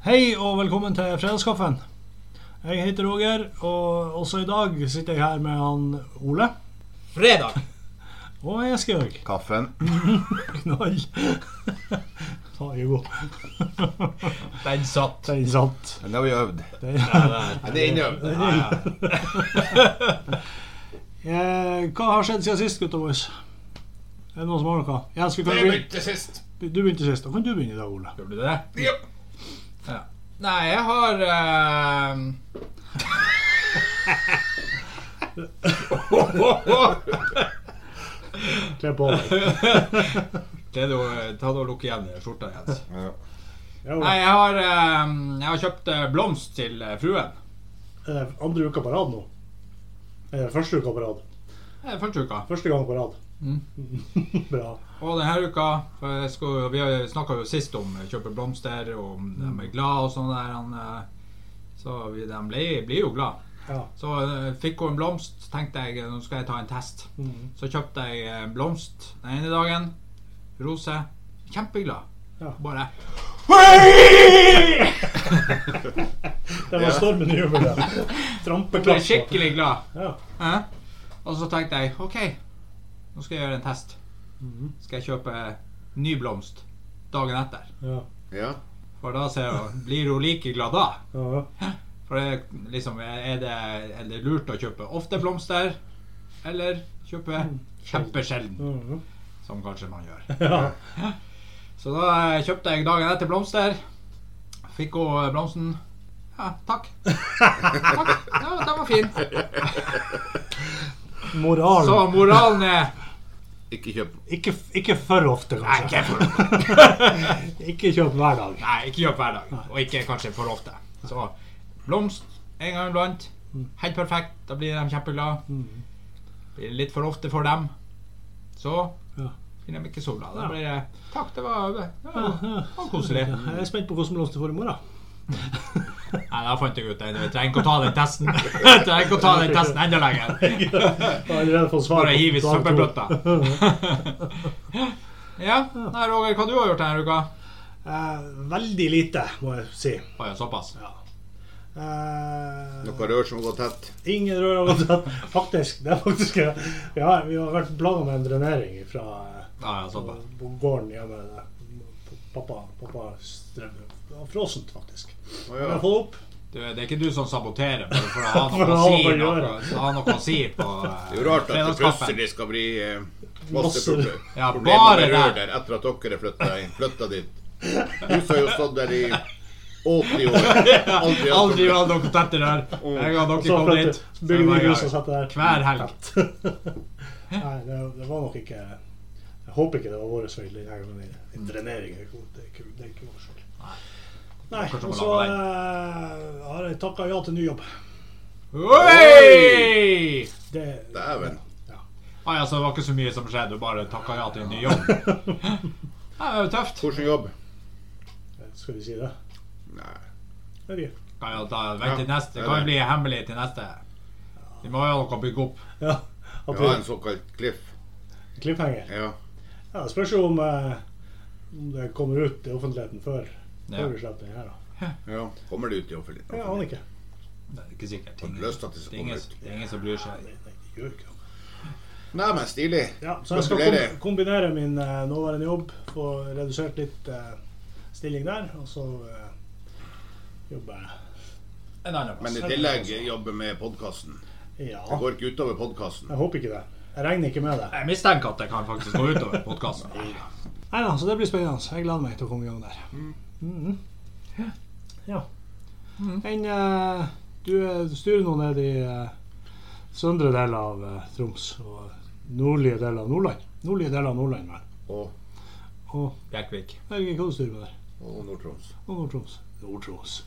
Hei og velkommen til Fredagskaffen. Jeg heter Roger, og også i dag sitter jeg her med han Ole Fredag. og Eskjørg. Kaffen. Knall! Da er jeg god. Den satt. Den satt. Men det har vi øvd. Den. Nei, det er innøvd. Eh, hva har skjedd siden sist, gutta våre? Er det noen som har noe? Jens, vi kan Jeg begynne. begynte sist. Du begynte sist. Da kan du begynne i dag, Ole. Gjorde du det? Ja. Nei, jeg har eh, Kle på deg. det du, Ta det og lukk igjen skjorta, Jens. Ja. Ja, Nei, Ole. jeg har, eh, jeg har kjøpt eh, blomst til eh, fruen. Er det andre uka på rad nå? Er det første uka på rad? Det er Første uka. Første gang på rad. Bra. Og denne uka for jeg skal, jo- Vi snakka jo sist om å kjøpe blomster, og om de er glad og sånn der. Han, eh, så vi, de blir, blir jo glad. Ja. Så eh, fikk hun en blomst. Tenkte jeg eh, nå skal jeg ta en test. Mhm. Så kjøpte jeg eh, blomst den ene dagen. Rose. Kjempeglad. Ja. Bare Det var stormen i jubelen. ble Trampeklapp. skikkelig glad. Ja. Eh? Og så tenkte jeg OK, nå skal jeg gjøre en test. Mhm. Skal jeg kjøpe eh, ny blomst dagen etter? Ja. ja. For da ser jeg, blir hun like glad da. Ja. For det, er liksom, er, det, er det lurt å kjøpe ofte blomster, eller kjøpe kjempesjelden, Mhm. som kanskje man gjør? ja. Så da eh, kjøpte jeg dagen etter blomster. Fikk hun eh, blomsten. Ja, takk. takk. Ja, den var fin. Moralen. Så moralen er Ikke kjøp. Ikke, ikke for ofte, Nei, kanskje. ikke for ofte. Ikke kjøp hver dag. Nei, ikke kjøp hver dag. Og ikke kanskje for ofte. Så blomst en gang iblant. Helt perfekt. Da blir de kjempeglade. Mhm. Blir det litt for ofte for dem, så Ja. blir de ikke så glade. Da blir det Takk, det var, det var, det var koselig. Jeg er spent på hvordan blomst du får i morgen. Nei, da fant jeg ut det. Jeg trenger ikke å ta den testen. Jeg trenger ikke å ta den testen enda lenger. Jeg har allerede fått svar. på Bare hiv i dag to. søppelbøtta. ja. Nei, Roger, hva du har gjort denne uka? Eh, veldig lite, må jeg si. Å ja, såpass. Eh, Noe rør som går tett. ingen rør har gått an. Faktisk. Det er faktisk ja, vi har- Vi har vært plaga med en drenering fra eh, Ja, ja, på, såpass. på gården hjemme. der. Pappa, pappa strøm. Det var Frossent, faktisk. Å, Vi ja. har fått opp. Du, det er ikke du som saboterer for, for å ha For noe å å ha noe si, å noe, gjøre. ha noe å si på eh, Det er jo rart at det fredagskaffen. plutselig skal bli eh, masse Masse. proble- Ja, problemer bare med rør det. der etter at dere flytta, inn- flytta dit. Huset har jo stått der i 80 år. Aldri hatt Aldri Oh. problemer. hatt noe tette rør. En gang dere Så kom flytter- dit, så bygger vi var hus og setter der. hver helg. Nei, det, det var nok ikke Jeg håper ikke det var vår feil denne gangen. Mm. En drenering er ikke- det er ikke, det er ikke vår feil. Nei, kanskje og må så lage eh, har jeg takka ja til ny jobb. sånn. Oi! Det, Dæven. Ah, ja, så det var ikke så mye som skjedde, du bare takka ja til en ny jobb. Ja, det var jo tøft. Hvordan jobb? Skal vi si det? Nei. Det er vi. Kan jo ta, vent til Ja, neste. Det det er kan jo det. bli hemmelig til neste. Vi må jo ha noe å bygge opp. Ja. At Det var en vi, såkalt cliff. cliffhanger. Ja. Ja, det spørs jo om, eh, om det kommer ut i offentligheten før, Ja. før vi slipper den her. da. ja. Kommer det ut i offentligheten? Jeg aner ikke. Det er ikke sikkert. Har du lyst til at det Det er skal komme ingen, ut? det er ingen som bryr seg. Nei, nei, det gjør ikke noe. Nei, men stilig. Ja, så jeg skal Gratulerer. kom- kombinere min eh, nåværende jobb, få redusert litt eh, stilling der, og så eh, jobber jeg. En annen plass. Men i tillegg jobbe med podkasten. Ja. Det går ikke utover podkasten. Jeg håper ikke det. Jeg regner ikke med det. Jeg mistenker at det kan faktisk gå utover podkasten. Nei da, så det blir spennende. Jeg gleder meg til å komme i gang der. Mhm. Ja. Enn eh, du eh, styrer nå ned i eh, søndre del av eh, Troms og nordlige del av Nordland. Nordlige del av Nordland, vel. Og, Og Bjerkvik. jeg vet ikke hva du styrer med der. og Nord-Troms. Og Nord-Troms. Nord-Troms.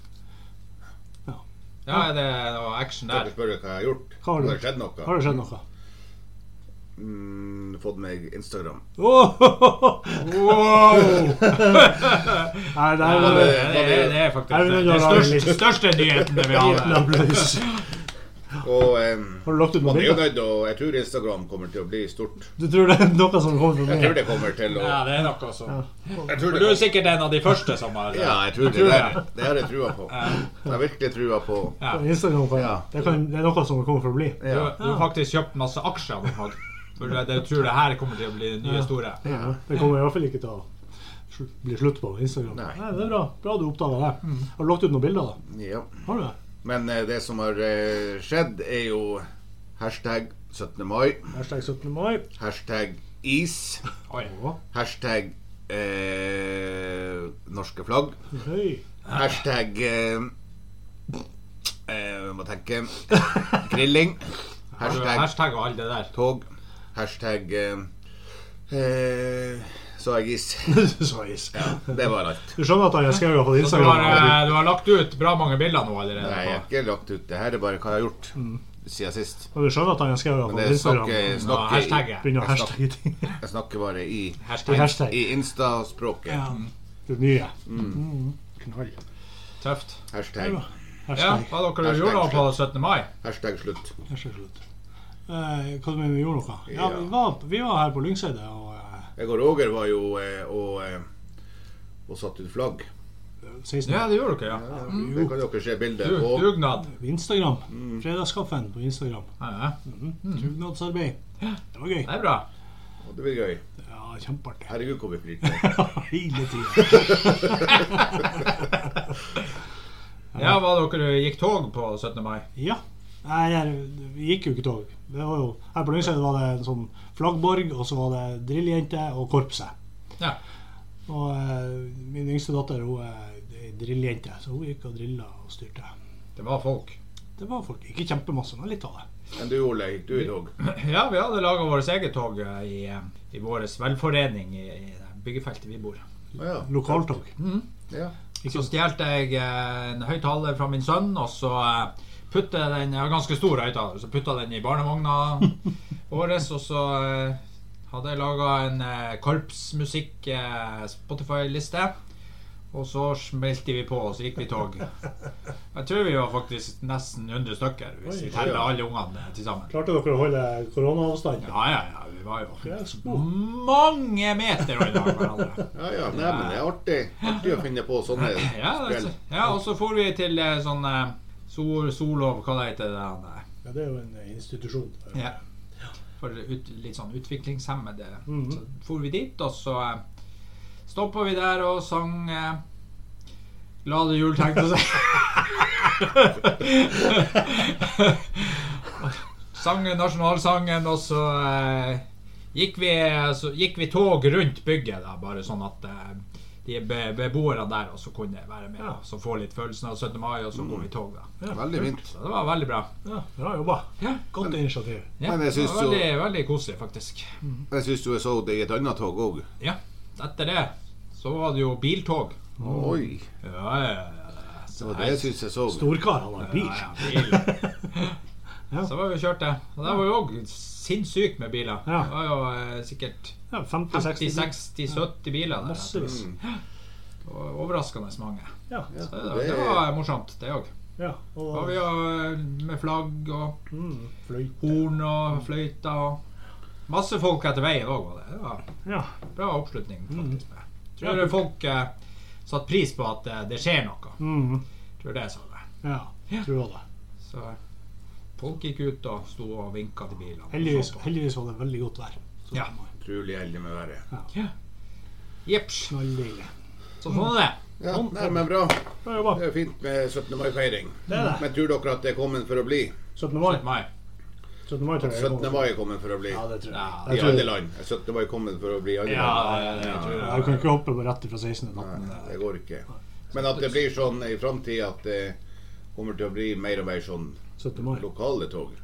Ja, er det noe action Dere der? spør hva jeg har gjort. Hva har du Har det gjort? skjedd noe? Har det skjedd noe? Mm, fått meg Instagram. Åh! Wow! Nei, der Ja, var det, det det, det er faktisk det, det største, største nyheten vi Liten har. applaus. Og em, Har du lagt ut noen man er jo bilder? nødt og Jeg tror Instagram kommer til å bli stort. Du tror det er noe som kommer fra Jeg tror meg? det kommer til å Ja, det er noe som Jeg tror For det Du er sikkert en av de første som har Ja, jeg tror det. Der, det har jeg trua på. Jeg har virkelig trua på Ja. På Instagram kan, Ja. det, kan, det er noe som kommer for å bli. Du, ja. du har faktisk kjøpt masse aksjer. av dem, Hag. For du, du tror det her kommer til å bli det nye store. Ja, det kommer i hvert fall ikke til å sl- bli slutt på Instagram. Nei. det er bra. Bra du oppdaga det. Har du lagt ut noen bilder, da? ja. Har du det? Men eh, det som har eh, skjedd, er jo hashtag 17. mai, Hashtag 17. mai. hashtag is, Oi. hashtag eh, norske flagg, Høy. hashtag eh, eh, jeg Må tenke grilling, Har du hashtag hashtag og alt det der? tog, hashtag eh, eh, Så jeg is. Du sa is. Det var alt. Du skjønner at Anja Skau har fått Du har, Instagram? eh, du har lagt ut bra mange bilder nå allerede. Nei, jeg har ikke lagt ut det her, det er bare hva jeg har gjort Mm. siden sist. Og du skjønner at Anja Skau har Men fått det eh, Instagram? snakker, jeg Nå, snakker, hashtagget. Begynner å hashtagge ting. jeg snakker bare i, Det er Hashtag. Hashtag. i Insta-språket. Det nye. Mm. Knall. Tøft. Hashtag, Ja, Hashtag. hva dere Hashtag gjorde nå på slutt. 17. mai? hashtag slutt. Hashtag slutt. Eh, hva mener du vi gjorde noe? Ja, Ja. vi var, vi var her på Lyngseidet, og eh, Jeg og Roger var jo eh, og, eh, og satt ut flagg. 16. Ja, det gjorde dere, ja. Det kan dere se bilde Du, på. dugnad. Instagram. Mm. Fredagskaffen på Instagram. Ja, ja. Mm. Dugnadsarbeid. Det var gøy. Det er bra. Og det blir gøy. Ja, kjempeartig. Herregud, hvor vi flirte. Hele tiden. Ja, hva dere gikk tog på 17. mai? Ja. Nei, jeg, vi gikk jo ikke tog. Det var jo, her på Lyngseidet var det en sånn flaggborg, og så var det drilljente og korpset. Ja. Og eh, min yngste datter hun er ei drilljente, så hun gikk og drilla og styrte. Det var folk. Det var folk. Ikke kjempemasse, men litt av det. Men du, Ole, gikk du i tog? Ja, vi hadde laga vårt eget tog eh, i, eh, i vår velforening i, i Mhm. det byggefeltet vi bor. Å ja. Lokaltog. ja. Så stjal jeg eh, en høyttaler fra min sønn, og så eh, puttet jeg den Jeg har ganske stor høyttaler, så putta den i barnevogna vår, og så eh, hadde jeg laga en eh, korpsmusikk-Spotify-liste. Og så smelte vi på, og så gikk vi tog. Jeg tror vi var faktisk nesten 100 stykker, hvis Oi, vi teller ja. alle ungene til sammen. Klarte dere å holde koronaavstand? Ja, ja, ja, vi var jo Det er spor. mange meter unna hverandre. ja, ja. Nei, men det er artig. Artig å finne på sånne Ja, spill. altså, ja, og så for vi til eh, sånn eh, sol, Solov, hva det heter det han eh, Ja, det er jo en institusjon. ja. For ut, litt sånn utviklingshemmede. Mhm. Så for vi dit, og så eh, stoppa vi der og sang eh, Glade jul, tenkte jeg å si. sang nasjonalsangen, og så eh, gikk, vi, så gikk vi tog rundt bygget, da, bare sånn at eh, de be beboerne der også kunne være med. Ja. Mm. Og så få litt følelsen av 17. mai, og så går vi i tog, da. Veldig fint. Så det var veldig bra. Ja, bra jobba. Ja. Godt initiativ. Ja, Men jeg det syns var jo- veldig, veldig koselig, faktisk. Jeg syns du så det i et annet tog òg. Ja, Etter det så var det jo biltog. Oi. Ja, ja, ja. Det Så var det jeg syns jeg så. Storkar han har bil. Ja, ja, bil. Så var vi og kjørte. Og det var jo òg sinnssykt med biler. Ja. Det var jo eh, sikkert Ja, 50-60 50-60-70 biler der. Massevis. Det var Overraskende mange. Ja, Ja, Så det, det var morsomt, det òg. ja. Og Og vi var med flagg og mm, fløyte. horn og fløyter og Masse folk etter veien òg var det. det var Ja. Bra oppslutning, Mm. faktisk. Jeg tror folk eh, satte pris på at eh, det skjer noe. Mm, Jeg tror det sa det. ja. Tror jeg det. Så folk gikk ut og sto og vinka til bilene. og Heldigvis, så på. heldigvis var det veldig godt vær. Så Ja. det var Utrolig heldig med været. Jeps. Knalldeilig. Så sånn er det. Ja, nei, men bra. Bra jobba. Det er fint med 17. mai-feiring. Det er det. Men tror dere at det er kommet for å bli? 17. mai. 17. mai. 17. mai tror jeg. 17. mai er kommet for å bli. Ja, det tror jeg. Ja, Jeg I tror alle land. 17. mai er kommet for å bli i alle Ja, land. jeg, tror Ja, du kan ikke hoppe på rett fra 16. til 18. Nei, det går ikke. Men at det blir sånn i framtida at det kommer til å bli mer og mer sånn 17. mai. lokale tog.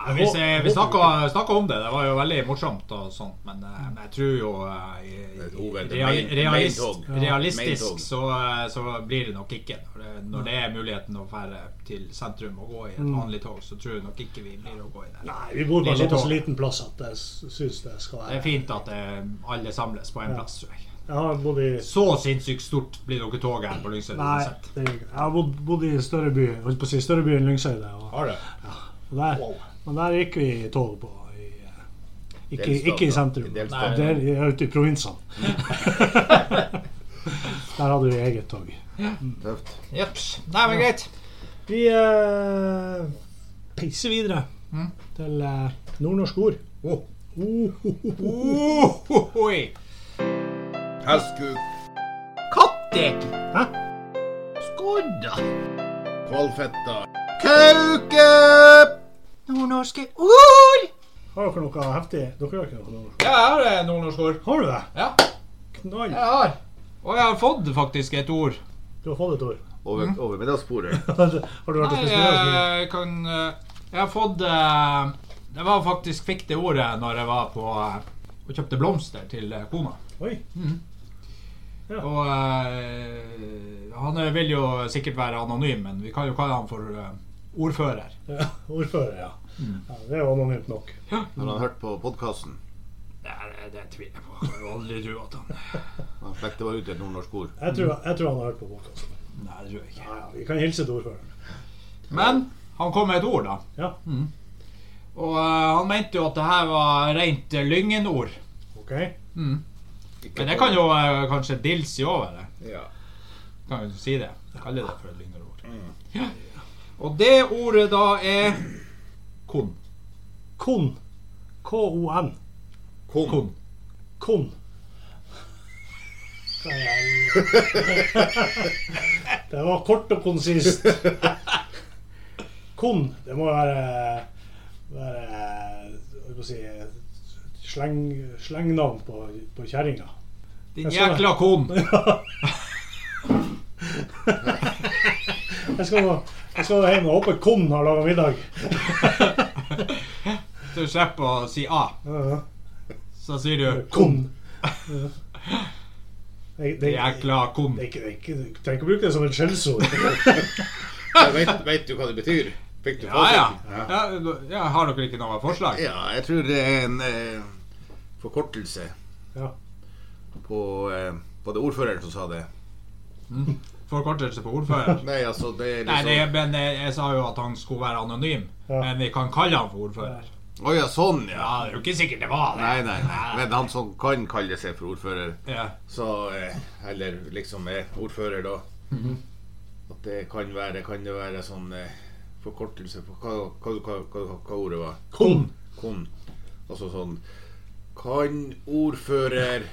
Nei, Vi, se- vi snakka, snakka om det. Det var jo veldig morsomt, og sånt, men, eh, men jeg tror jo eh, i, Et i, hoved, real, main- main-tog. realist, Ja. Main-tog. Realistisk så, eh, så blir det nok ikke. Når det, når det er muligheten å fære til sentrum og gå i et vanlig tog, så tror jeg nok ikke vi blir å gå i det. Nei, vi bor på en Lille såpass tog. liten plass at jeg s- syns det skal Det er være fint at eh, alle samles på en plass, tror jeg. Jeg har bodd i Så sinnssykt stort blir dere toget her på Lyngsøy. Nei, uansett. det, er ikke- jeg har bodd, bodd i større by, holdt på å si, større by enn Lyngsøyde. Og, Har du? og der, Wow. men der gikk vi i tog på. I, eh, ikke, Delstaten, ikke i da. sentrum. I Nei, delstaten. del, i- ute i provinsene. der hadde vi eget tog. Tøft. Jeps. Nei, men greit. Vi eh, peiser videre Mm. til eh, nordnorsk ord. Oh. Oh, ho, ho, ho. Oh, ho, hoi. Hestkuk, Kattek. Hæ? Skodda. kvalfetta, kauke! Nordnorske ord. Har dere noe heftig? Dere har ikke noe nordnorsk? Ja, jeg har eh, nordnorske ord. Har du det? Ja, Knall. jeg har. Og jeg har fått faktisk et ord. Du har fått et ord. Over, over middagsbordet. har du vært og Nei, spist middag? jeg kan eh, Jeg har fått eh, Jeg var faktisk fikk det ordet når jeg var på eh, og kjøpte blomster til eh, kona. Oi. Og eh, han eh, vil jo sikkert være anonym, men vi kan jo kalle han for eh, ordfører. Ja, ordfører, ja. ja. Det er jo anonymt nok. Har han hørt på podkasten? Nei, det, det tviler jeg på. Jeg kan jo aldri tro at han Han slekter bare ut et nordnorsk ord. Jeg tror, jeg tror han har hørt på podkasten. Nei, det tror jeg ikke. Ja, ja, vi kan hilse til ordføreren. Men han kom med et ord, da. Mm. Ja, Og eh, han mente jo at det her var rent eh, lyngenord. Mm. OK. Ikke Men det kan jo eh, kanskje dilse over det. Ja. Kan jo si det. Kalle det for et lyngenord. Mm. Ja. Og det ordet da er kon. Kon. K-o-n. Kom. Kon. Kon. Hva i helvete? Det var kort og konsist. Kon, det må være, være hva skal jeg si, sleng, slengnavn på, på kjerringa. Din Jeg så det. jækla kon. Jeg skal, jeg skal hjem og håpe Kon har laga middag. Du slipper å si A. Ja, Så sier ja. du Kon. Det, det, Din jækla kon. det er ikke, det er ikke, du trenger ikke å bruke det som et skjellsord. Jeg Vet, vet du hva det betyr? Fikk du Ja, ja. fasiten? ja. ja har dere ikke noe forslag? Ja, jeg tror det er en eh, forkortelse Ja. på eh, Var det ordføreren som sa det? Forkortelse på ordfører? Nei, altså, det er Nei, det, liksom men jeg, jeg sa jo at han skulle være anonym. Ja. Men vi kan kalle han for ordfører. Å ja, sånn, ja. Ja, det er jo ikke sikkert det var det. Nei, nei, nei. Men han som kan kalle seg for ordfører, Ja. så eh, Eller liksom er ordfører, da. Mhm. At det kan være Kan det være sånn eh, forkortelse på hva, hva, hva, hva, hva ordet var? Kon. Kon. Altså sånn Kan ordfører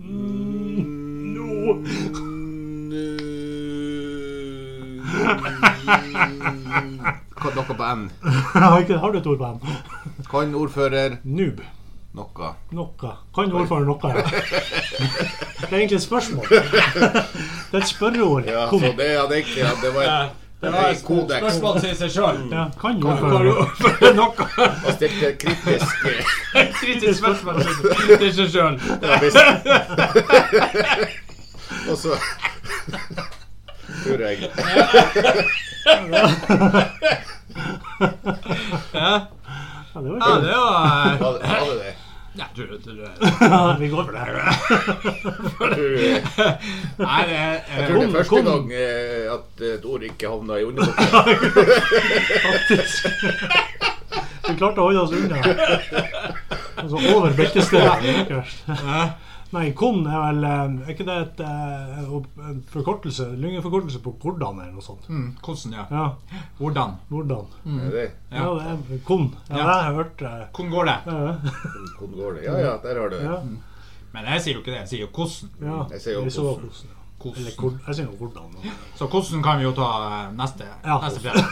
Mm, No. Hva- Noe på N. Har ikke- har du et ord på den? Kan ordfører Noob. noe? Noe. Kan ordføreren noe? Ja. Det er egentlig et spørsmål. Det er et spørreord. Ja, Kon. så det hadde jeg ikke ja, Det var et det var et kodeks. Mm. spørsmål til seg sjøl. Ja, kan Har ordføreren du noe? oppført noe Jeg stilte kritisk eh, kritisk spørsmål til- til seg sjøl? ja, visst. Og så tror jeg Ja, Ja, det var ja, ikke- det var Var det- var det det? Nei, du, du, du. Nei, Ja, Vi går for det. Jeg tror, eh, det er jeg tror Kon- det er første kon. gang eh, at et ord ikke havna i underbuksa. Faktisk. Vi klarte å holde oss unna. Altså over beltestedet. eh, Nei, kon er vel eh, Er ikke det et, eh, opp- en forkortelse? Lyngeforkortelse på hvordan, eller noe sånt? mm, Hvordan, ja. Ja, Hvordan? hvordan. Er det- Ja, det er kon. Mm. Ja, det har jeg hørt. eh, Hvordan går det? Ja, Hvordan går det? Ja ja, der har du det. ja. Men jeg sier jo ikke det, jeg sier jo hvordan. ja. Jeg sier jo Vi så hvordan. hvordan, ja. Eller hvordan. hvor, jeg sier jo hvordan. ja. Så hvordan kan vi jo ta eh, neste, Ja. neste fredag.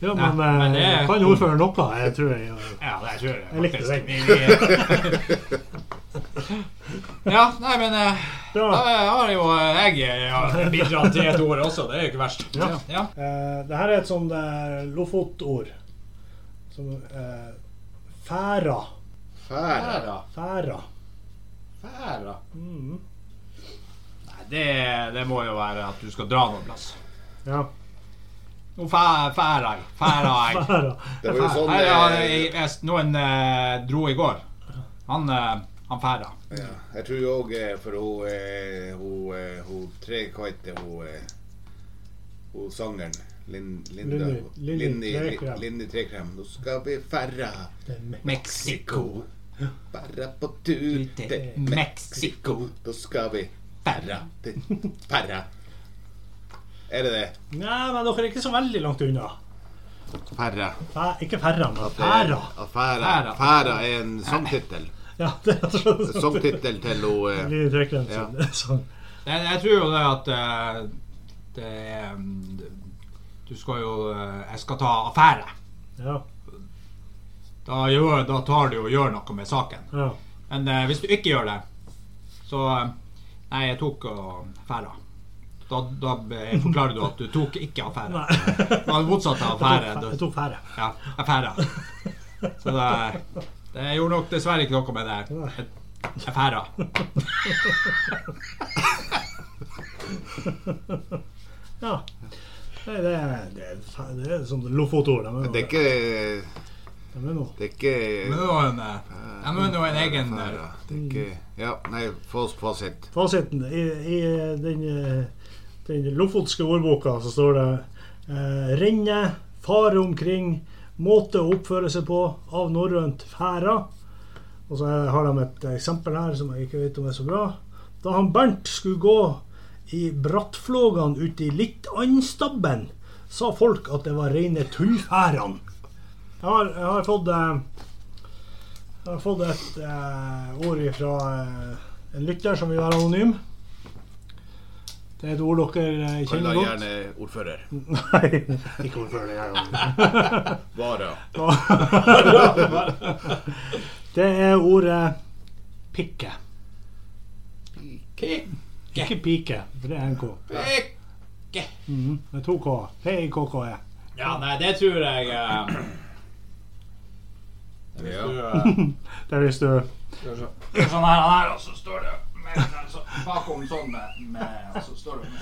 Ja, Nei, men, men det eh, er kan kon. ordføreren noe? Jeg tror jeg gjør det. Ja, det tror jeg. Jeg likte faktisk. den. Vi- Ja, nei, men eh, da Bra. har jo eh, jeg ja, bidratt til et ord også. Det er jo ikke verst. Ja. Ja. Eh, det her er et sånt eh, Lofot-ord. Som eh, færa. Færa. Færa. Færa. Mhm. Nei, det, det må jo være at du skal dra noen plass. Ja. Nå fæ- færa jeg. Færa jeg. Færa. Det var jo sånn Her, ja, eh, jeg, jeg, noen eh, dro i går. Han eh, Han færa. Ja. Jeg tror òg for hun, eh, hun, eh, hun tre kajte, hun, eh, hun sangeren Lin, Linda Linni- Linni Linni- Trekrem. Linni Trekrem. Nå skal vi ferra, Mexico. ferra på tur til Til Mexico. Da skal vi Færa. til ferra. Er det det? Nei, men dere er ikke så veldig langt unna. Ferra. Fæ- ikke Ferra, men Færa. Færa. Færa. Færa er en sangtittel. Ja, det er altså Sånn, Sangtittel til hun eh, Lille Trekrem Ja. sin sang. Jeg, jeg tror jo det at eh, det er mm, Du skal jo eh, Jeg skal ta affære. Ja, Da, gjør, da tar du og gjør noe med saken. ja. Men eh, hvis du ikke gjør det, så eh, Nei, jeg tok og færa. Da, da eh, forklarer du at du tok ikke affære. Nei. Det var det motsatte av affære. Jeg tok fæ- Jeg Du- tok Færa. Ja, affæra. Så det, det gjorde nok dessverre ikke noe med det. Affæra. Ja. Nei, det er, det er, fa- det er som Lofotord. De er Det noe. er ikke De er noe. Det er ikke Men det var en, eh, ja, men det var en egen eh, Færa. Det er ikke Ja, nei, få oss fasit. Fasiten i, i den, eh, den lofotske ordboka så står det eh, renne, fare omkring, måte å oppføre seg på, av norrønt færa. Og så har de et eksempel her som jeg ikke vet om er så bra. Da han Bernt skulle gå i brattflågan ute i Littandstabben, sa folk at det var reine tullfæran. Jeg har, jeg har fått eh, jeg har fått et eh, ord fra eh, en lytter som vil være anonym. Det er et ord dere eh, Kall kjenner da godt. gjerne ordfører. Nei, ikke ordfører. jeg er anonym. Vara. Det er ordet pikke. Ki- Ikke pike, for det er en K. Ki- Mhm, Med to K. E. P-I-K-K-E. Ja, nei, det tror jeg eh, Ja. du, eh, Det er hvis du det er Sånn her, han her, og så står det med, den så, bakom sånn med, med og så står det med.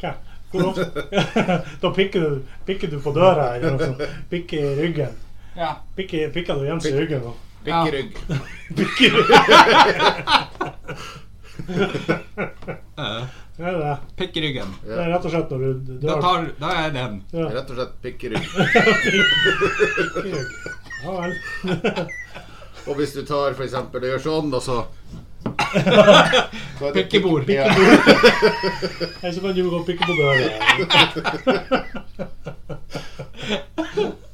Hva? Hvor ofte? Da pikker du, pikker du på døra. Eller noe sånt. Pikker i ryggen. Ja. Pikker, pikker du Jens i ryggen nå? Ja. Pikkerygg. Pikker i Det er det. Pikk i ryggen. Det er rett og slett når du Da, dør. tar, da er den. Rett og slett pikkerygg. Ja vel. Og hvis du tar for eksempel og gjør sånn, og så Så er det pikk- Pikkebord. Ja. Ellers så kan du gå og pikke på døra.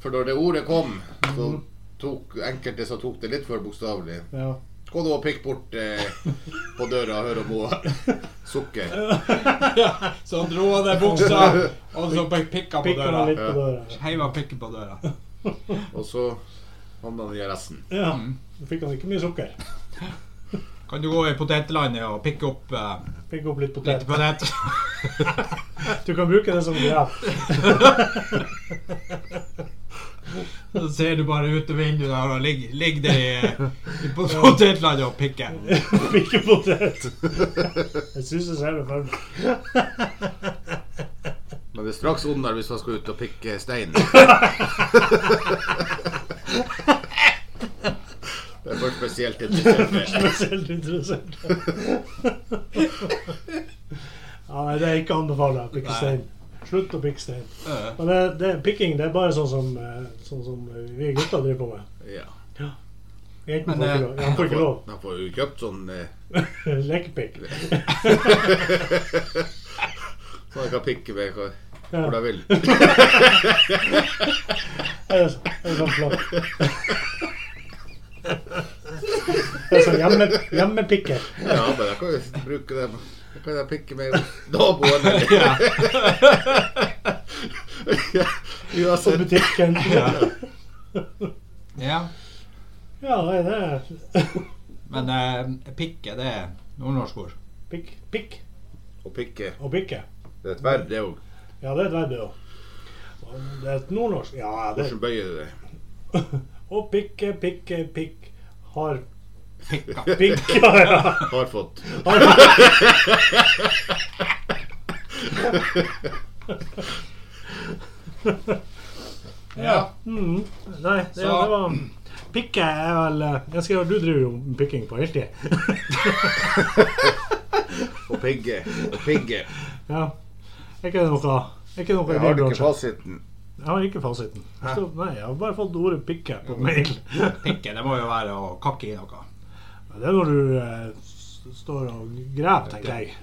For når det ordet kom, så tok enkelte så tok det litt for bokstavelig. Ja. Gå nå og pikk bort eh, på døra, hør om hun sukker. Så han dro av deg buksa, og så pik- pikka på Pikker døra. han litt på døra. Heiva pikken på døra. Og så havna han i arresten. Ja. Da fikk han ikke mye sukker. Kan du gå i potetlandet og pikke opp eh, Fikk opp litt potet. litt potet? Du kan bruke det som grav. Så ser du bare ut av vinduet der og ligger ligger der i, i potetlandet og pikker. Ikke potet. Jeg syns jeg ser det for meg. Men det er straks ondere hvis man skal ut og pikke stein. Det er bare spesielt interessert. Spesielt interessert. Ja, nei, det er ikke anbefalt å pikke stein. Slutt å pikke stein. Eh, Men det, det, pikking det er bare sånn som, eh, sånn som vi gutter driver på med. Ja. Jentene Men, får ikke eh, lov. Ja, får ikke lov. Man får jo kjøpt sånn eh, Lekepikk. Så jeg kan pikke meg hvor, Ja. hvor jeg vil. Er det så- er det sånn flott? Det er sånn hjemme, hjemmepikker. Ja, men jeg kan jo bruke dem. Jeg kan jeg pikke meg hos naboen eller ja. På uansett. butikken. ja. Ja, nei, det er Men eh, pikke, det er nordnorsk ord. pikk, pikk Å pikke, og bikke. det er et verb, det òg. Ja, det er et verb, det òg. Det er et nordnorsk Ja, det Hvordan bøyer du det? Å pikke, pikke, pikk har Pikka. pikka, ja. Har fått. Ja. Mm, nei, det, Så- det Mm, var pikke er vel eh, Jeg skal du driver jo med pikking på heltid. Og pigge. Og pigge. ja. Er ikke det noe er ikke noe i Jeg din har ikke bransje? fasiten. Jeg har ikke fasiten. Hæ? Så, nei, jeg har bare fått ordet 'pikke' på mail. Pikke, det må jo være å kakke i noe. Det er når du eh, s- står og graver, tenker jeg.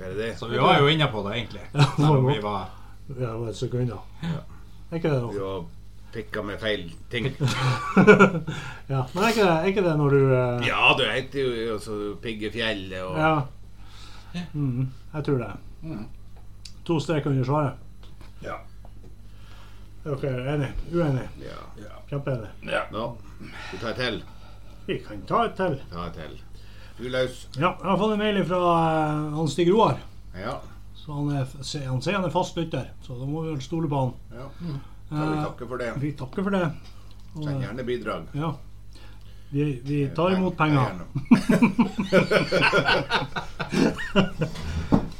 Er det det? Så vi var jo inne på det, egentlig. Ja, det Selv var om vi godt. var Ja, det var et sekund, da. Er ikke det Du noe? har pikka med feil ting. ja. Men er ikke det, er ikke det når du eh, Ja, du heter jo også Piggefjellet og Ja. Mhm, jeg tror det. Mhm. To strek under svaret. Ja. Er dere enige? Uenige? ja. Kjempeenige? Nå, du tar til. Vi kan ta et til. Ta til. Du løs. Ja, jeg har fått en mail fra eh, han Stig Roar. Ja. Så han, er, se- han sier han er fast lytter, så da må vi vel stole på han. ja. Da vil vi Eh, takke for det. vi takker for det. Og, eh, Send gjerne bidrag. ja. Vi, vi tar imot penger.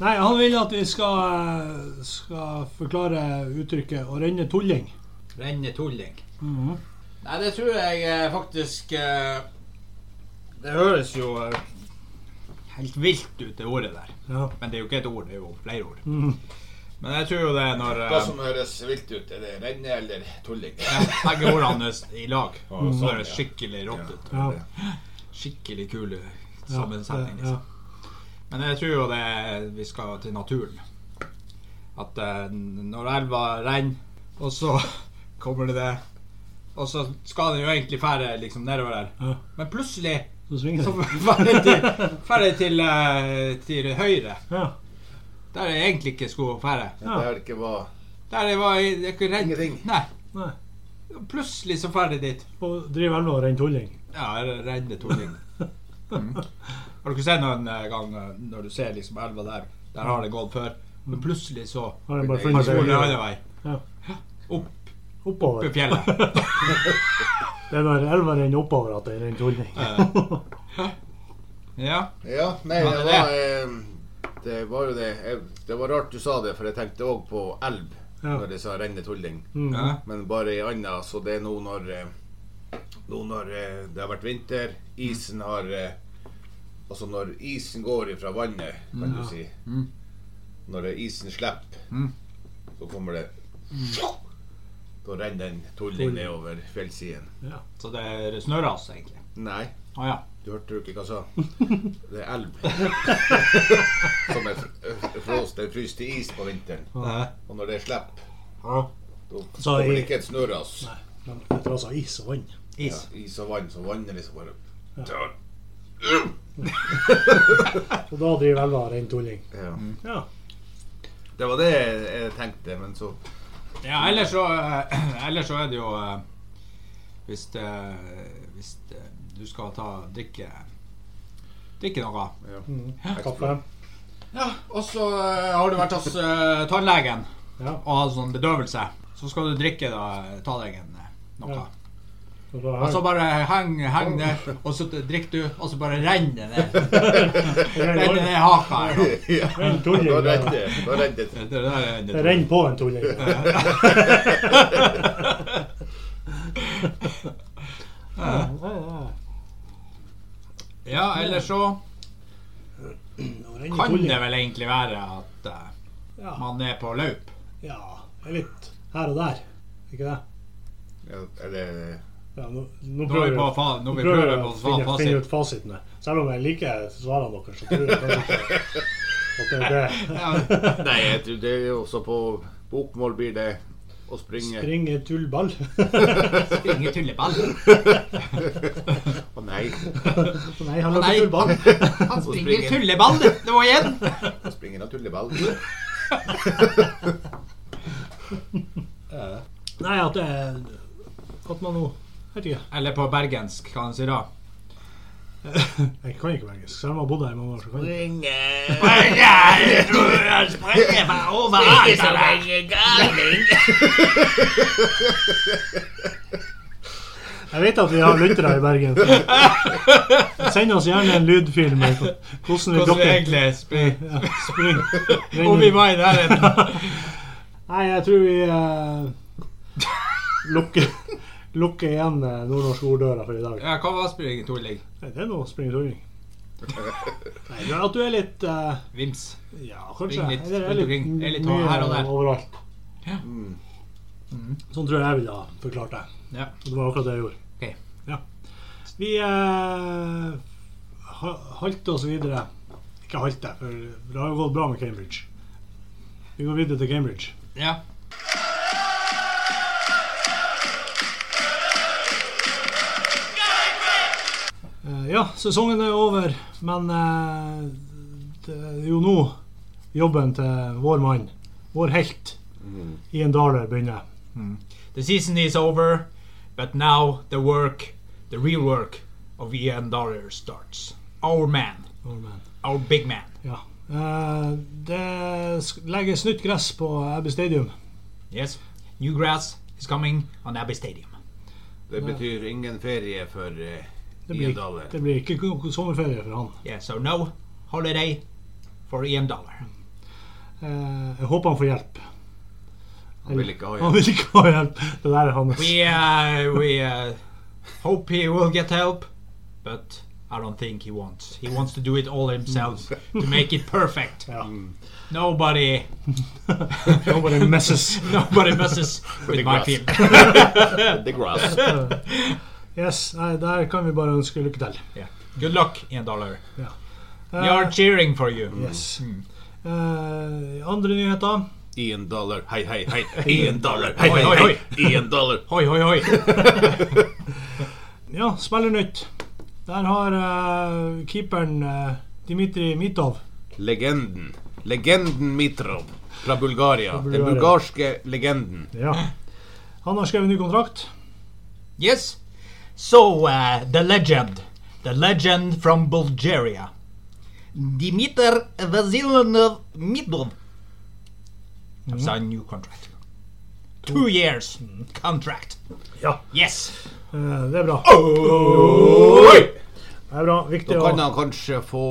Nei, han vil at vi skal, eh, skal forklare uttrykket 'å renne tulling'. renne tulling. Mhm. Nei, det tror jeg eh, faktisk eh, Det høres jo eh, helt vilt ut, det ordet der. Ja. Men det er jo ikke et ord, det er jo flere ord. Mhm. Men jeg tror jo det er når eh, Hva som høres vilt ut, er det renne eller tulling? begge ordene er i lag, Mm. så høres skikkelig rått ut. Ja. Skikkelig kule Ja, sammensetning. ja. Liksom. Men jeg tror jo det er- vi skal til naturen. At eh, når elva renner, og så kommer det det Og så skal den jo egentlig fære liksom nedover her. Ja. Men plutselig Så svinger så det. fære til, fære til, eh, til høyre. Ja. Der jeg egentlig ikke skulle fære. Ja. Det er ikke hva Der jeg var jeg, jeg redd. Ingenting. Nei. Nei. Plutselig så fære dit. Og driver elva og renner tulling. Ja, jeg redder Torgrim. Mm. Har du ikke sett noen eh, gang eh, når du ser liksom elva der, der har det gått før, men plutselig så Har den bare Men funnet det er seg går det videre andre vei. Ja. Opp oppover. i fjellet. Det er når elva renner oppover at den renner tulling. Ja. Ja, nei, Ja, det det var eh, Det var jo det jeg, Det var rart du sa det, for jeg tenkte òg på elv Ja. når jeg sa renne tulling. Mhm. ja. Men bare i anna, så det er nå når eh, Nå når eh, det har vært vinter, isen har eh, Altså når isen går ifra vannet, kan du si. Mm. Når isen slipper, Mm. så kommer det Da renner den tulling nedover fjellsiden. Så det er snøras, egentlig. Nei, Å ja. du hørte jo ikke hva jeg sa. Det er elv. Som er fr- eh, frost. Den fryser til is på vinteren. Eh, Og når det slipper, ja. da Så kommer i- det ikke et snøras. Nei, men det er altså is og vann. Is. Ja, is og vann, så vannet liksom bare Og da driver elva og renner tulling. ja. Ja. Det var det jeg tenkte, men så Ja, ellers så, eh, ellers så er det jo eh, Hvis, det, hvis det, du skal ta drikke Drikke noe. ja. Mm. Kaffe. Ja, og så eh, har du vært hos eh, tannlegen. Ja. og hadde sånn bedøvelse, så skal du drikke da, ta deg en eh, noe. Ja. Og da Og så bare heng, heng det, og så drikker du, og så bare renner det ned. Renner renner ned haka. her, da. Ja. renner tulling. ja. Da redde Da redde det. Det der er en- Det renner på en tulling. Ja, ja, ja. Ja, eller så Nå renner kan tulling. det vel egentlig være at eh, Ja. man er på løp. Ja, det er litt her og der. Ikke det? Ja, eller Ja, nå, nå Nå er prøver vi jeg på, fa når vi prøver prøver jeg på å fa finne, finne fasit. ut fasitene. Selv om jeg liker svarene deres, så tror jeg kanskje ikke at det er det. Ja, Nei, jeg tror det er også på bokmål blir det å springe Å Springe tullball. Ingen tulleball. nei, Nei, han løper Nei. tullball. Han springer tulleball nå igjen. å springe naturlig ball. Nei, at det er At man nå Vet ikke. Eller på bergensk, hva han sier da. Jeg kan ikke bergensk. Selv om jeg har bodd her i mange år, så kan jeg ikke. Jeg tror jeg springer meg over alt. Jeg vet at vi har lyttere i Bergen. Send oss gjerne en lydfilm med hvordan vi Hvordan vi dokker. er egentlig springer. Ja, spring. Om vi Renn- var i nærheten. Nei, jeg tror vi eh, lukker, lukker igjen eh, nordnorsk orddøra for i dag. Ja, hva var Aspring Torlig? Nei, det er noe springende torning. Nei, men at du er litt eh, Vims. Ja, kanskje. Ring litt Eller rundt omkring. Er litt her og der. overalt. Mm. Sånn tror jeg jeg ville ha forklart det. Ja. Og det var akkurat det jeg gjorde. Ok. Ja. Vi eh, ha- halte oss videre. Ikke halte, for det har jo gått bra med Cambridge. Vi går videre til Cambridge. ja. Eh, ja, sesongen er over, men eh, det er jo nå jobben til vår mann, vår helt, Mm. Ian Dahler begynner. The season is over, but now the work, the real work of Ian Dahler starts. Our man. vår mann. Our big man. Ja. Eh, det sk- legges nytt gress på Abbey Stadium. Yes. New grass is coming on Abbey Stadium. Det betyr ingen ferie for eh, Det blir, Iendaler. det blir ikke ko- sommerferie for han. Yeah, so no holiday for Ian Dahler. Eh, jeg håper han får hjelp. Han vil ikke ha Han hjelp. vil ikke ha hjelp. Det der er hans. We uh, we uh, hope he will get help, but I don't think he wants. He wants to do it all himself to make it perfect. Ja. Nobody, Nobody messes. nobody messes with my grass. team. The grass. Yes, nei, der kan vi bare ønske lykke til. Yeah. Good luck, Ian Dollar. Eh, We are cheering for you. Yes. Eh, andre nyheter. Ian Dollar, hei, hei, hei. Ian Dollar, hei, Oi, hei, oi, hei. Ian Dollar. Hoi, hoi, hoi. Ja, spiller nytt. Der har eh, keeperen eh, Dimitri Mitov Legenden. Legenden Mitrov fra Bulgaria. Den Bulgaria. bulgarske legenden. Ja. Han har skrevet ny kontrakt. Yes. So uh, the legend, the legend from Bulgaria, Dimitar Vasilyev Midov, have signed new contract. Two years contract. Ja. Yes. Eh, det er bra. Oi! Det er bra. Viktig Da å kan han kanskje få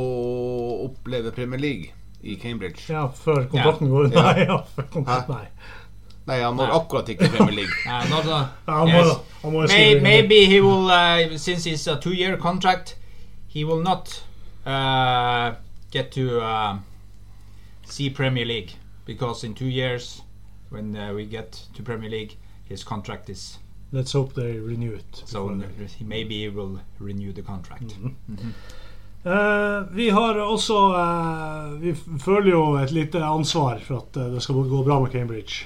oppleve Premier League i Cambridge. Ja, før kontrakten går ut. Ja. Nei, ja, før kontrakt, nei. Nei, han når akkurat ikke Premier League. Uh, not a, Ja, han, yes. må, han må jo May, skrive maybe he will, uh, since it's a two-year contract, he will not uh, get to um see Premier League because in two years, when uh, we get to Premier League, his contract is Let's hope they renew it. so he maybe he will renew the contract. Eh, vi har også eh, Vi f- føler jo et lite ansvar for at eh, det skal gå bra med Cambridge.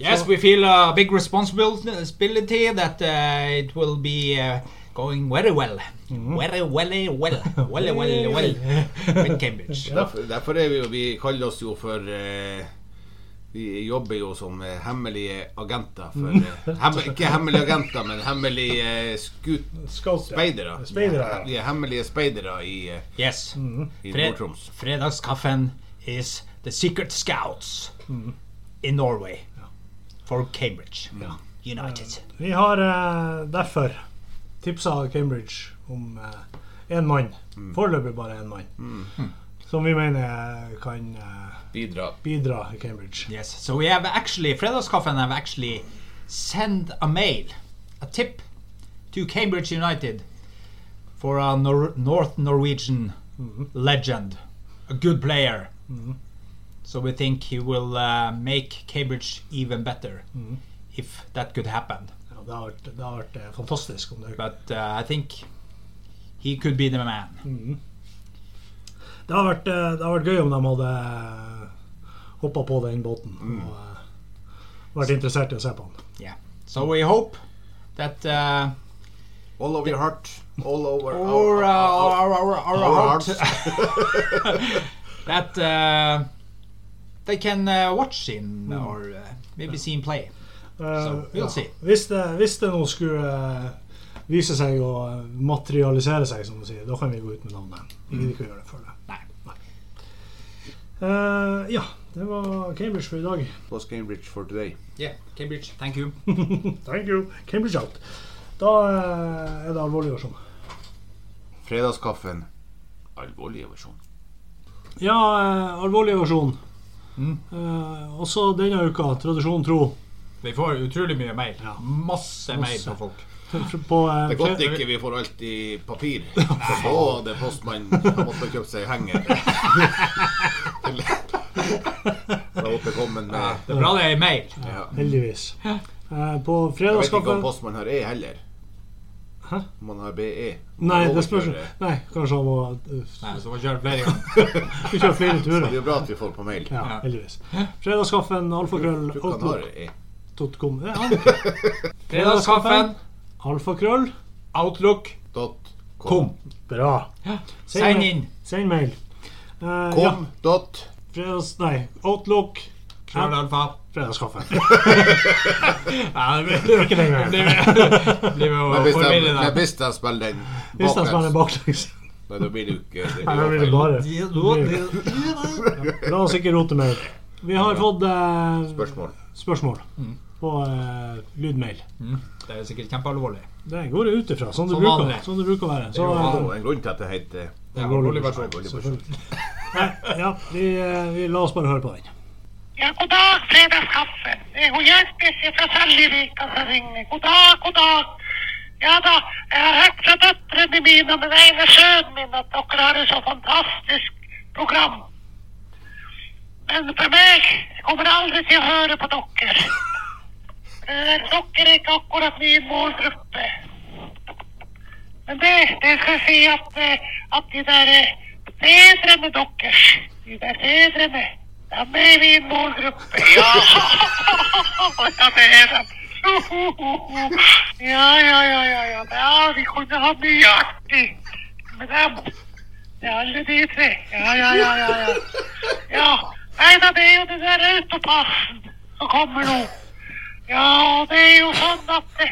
Yes, we feel a big responsibility that uh, it will be uh, going very well, very well, well, well, well, well with Cambridge. Derfor, derfor er vi jo Vi kaller oss jo for eh, Vi jobber jo som eh, hemmelige agenter for eh, hemme, Ikke hemmelige agenter, men hemmelige eh, skut... Scout, ja. Speidere. Speidere, ja. Vi er hemmelige speidere i, eh, Yes. i Fred- Nord-Troms. Fredagskaffen is the secret scouts in Norway for Cambridge United. Vi har eh, derfor tipsa Cambridge om én mann. Foreløpig bare én mann. Som vi mener kan eh, Bidra. bidra i Cambridge. Yes, so we have actually Fredagskaffen have actually sent a mail, a tip to Cambridge United for a Nor- North Norwegian legend, a good player. So we think he will uh, make Cambridge even better if that could happen. Ja, det har vært, det har vært eh, fantastisk. om Det but uh, I think he could be the man. Det har vært, eh, det har vært gøy om de hadde hoppa på den båten og eh, vært interessert i å se på han. Yeah. So we hope that uh, All over your heart. All over our, uh, our, our, our Our heart- that uh, they can uh, watch him or uh, maybe see him play. Eh, So, we'll see. Hvis, det, hvis det nå skulle eh, vise seg å materialisere seg, som du sier, da kan vi gå ut med navnet. Vi gidder ikke å gjøre det før det. Nei. Eh, ja, det var Cambridge for i dag. Was Cambridge for today. Yeah, Cambridge. Thank you. Thank you. Cambridge out. Da eh, er det alvorlig versjon. Fredagskaffen. Alvorlige versjon. Ja, Mm. eh, alvorlig versjon. Eh, også denne uka, tradisjonen tro, Vi får utrolig mye mail. Ja. Masse mail Masse. fra folk. På, eh, Det er godt ikke vi får alt i papir. For Både postmannen har måttet kjøpe seg henger. Fra återkommen med Det er bra det er mail. ja. Heldigvis. Eh, på Jeg vet ikke om fredagskaffe postmann har E heller. Hæ? Om han har BE. Nei, det spørs Overfører. Nei, kanskje han må eh, Nei, så får kjøre flere ganger. Vi kjører flere Det er turer. jo bra at vi får på mail. Ja, Ja. heldigvis. Fredagskaffen alfakrøll Tror ikke han har outlook E. dot com. Ja, han- Fredagskaffen, Alfakrøll. Outlook, Dot kom. com. Bra. Send inn. Send mail. Eh, ja, Kom. Dot. fredags... Nei, Outlook. Krøllalfa. Fredagskaffen. Nei, det blir Ikke den gangen. blir vi- blir vi Men å hvis de- forvirre men deg. hvis de spiller den Hvis de spiller baklengs, baklengs. nei, da blir det jo ikke det Nei, da blir blir det jo feil. bare La oss ikke rote mer. Vi har fått eh, Spørsmål. spørsmål Mm. på eh, lydmail. Det er sikkert kjempealvorlig. Det går jeg ut ifra. Sånn det Som bruker vanlig. sånn det bruker å være. Så, Det er eh, jo en grunn til at det heter Det er går alvorlig over. versjon. Veldig morsomt. selvfølgelig. Nei, ja, vi, eh, vi la oss bare høre på den. Ja, god dag, fredagskaffen. Det er hun Hjelmnes fra Seljevika som ringer. God dag, god dag. Ja da, jeg har hørt fra døtrene mine og den ene sønnen min at dere har et så fantastisk program. Men for meg, jeg kommer aldri til å høre på dere. Eh, Dere er ikke akkurat min målgruppe. Men det, det skal jeg si at, eh, at de der eh, fedrene deres, de der fedrene, de er med i min målgruppe. Ja, ja det er de. Ja, ja, ja, ja, ja. ja vi kunne ha mye artig med dem. Ja, alle de tre. Ja, ja, ja, ja. ja. ja. Nei da, det er jo den der autopassen som kommer nå. Ja, og det er jo sånn at eh,